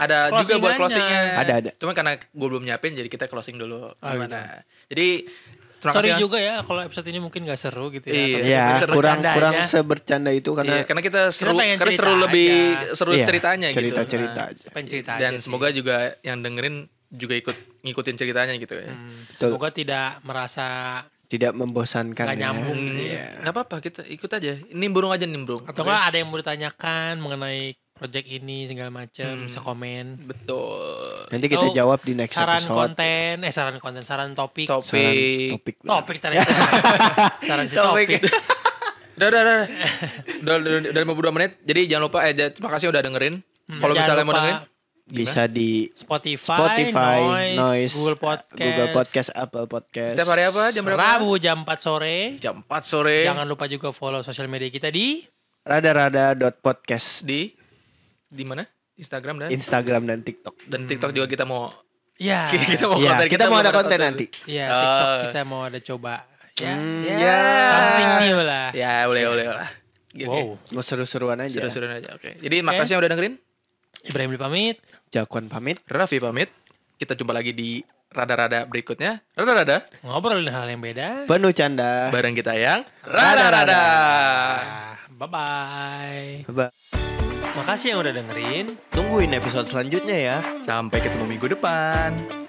S3: ada juga
S1: Closingannya.
S3: buat closingnya.
S2: Ada, ada.
S3: Cuma karena gue belum nyiapin jadi kita closing
S1: Oh,
S3: dulu. Gimana? Jadi terima
S1: Sorry
S3: kasih.
S1: juga ya kalau episode ini mungkin nggak seru gitu ya.
S3: Iya.
S1: Atau-
S2: Ya,
S3: Tapi seru
S2: kurang
S1: bercandanya.
S2: kurang sebercanda itu
S3: Iya,
S2: karena
S3: karena kita seru
S1: pengen
S3: karena
S1: cerita
S3: seru lebih
S1: aja.
S3: seru
S2: Iya,
S3: ceritanya gitu.
S2: Cerita-cerita
S3: Nah,
S2: aja.
S1: Pengen cerita aja
S3: dan
S1: sih.
S3: semoga juga yang dengerin juga ikut ngikutin ceritanya gitu ya.
S1: Hmm,
S2: Betul.
S1: semoga tidak merasa
S2: Tidak membosankan.
S1: Nggak
S2: ya.
S1: nyambung.
S3: Hmm,
S2: Iya.
S3: nggak apa-apa kita ikut aja. Nimbrung aja nimbrung.
S1: atau enggak ada yang mau ditanyakan mengenai project ini segala macam
S3: Hmm.
S1: bisa komen.
S3: Betul.
S2: Nanti kita
S1: Atau
S2: jawab di next
S1: Saran
S2: episode.
S1: konten, eh saran konten, saran topik.
S2: Saran
S3: Topik.
S2: topik.
S1: Topik ternyata. saran si
S2: Topik.
S1: topik.
S3: Udah, udah, udah. Udah, udah, udah 52 menit. Jadi jangan lupa, eh, ja- terima kasih udah dengerin.
S2: Hmm,
S3: Kalau
S1: Hmm. Jangan
S3: misalnya mau
S1: lupa
S3: dengerin,
S2: Bisa di
S1: Spotify,
S2: Spotify,
S1: Noise, Google Podcast.
S2: Google Podcast, Apple Podcast.
S3: setiap hari apa? Jam berapa?
S1: Rabu jam 4 sore.
S3: Jam 4 sore.
S1: Jangan lupa juga follow sosial media kita di
S2: Rada-rada.podcast
S3: Di, di mana? Instagram dan,
S2: Instagram dan TikTok.
S3: dan TikTok juga kita mau,
S1: ya
S3: Oh, kita mau
S2: Iya,
S3: konten.
S2: kita mau ada konten nanti.
S1: ya TikTok
S3: Ah.
S1: kita mau ada coba ya.
S2: Ya.
S1: Something new lah.
S3: Ya, boleh,
S2: Iya.
S3: boleh lah. Oke, oke.
S1: Wow.
S2: Mau seru-seruan aja.
S3: Seru-seruan aja. Oke. Jadi makasih yang udah dengerin.
S1: Ibrahim Dwi pamit.
S2: Jakuan pamit.
S3: Raffi pamit. Kita jumpa lagi di rada-rada berikutnya. Rada-rada.
S1: Ngobrolin hal yang beda.
S2: Penuh canda.
S3: Bareng kita yang
S2: Ah. Rada-rada.
S3: rada-rada.
S1: Bye bye.
S2: Ba-
S1: Makasih yang udah dengerin.
S2: Tungguin episode selanjutnya ya.
S3: Sampai ketemu minggu depan.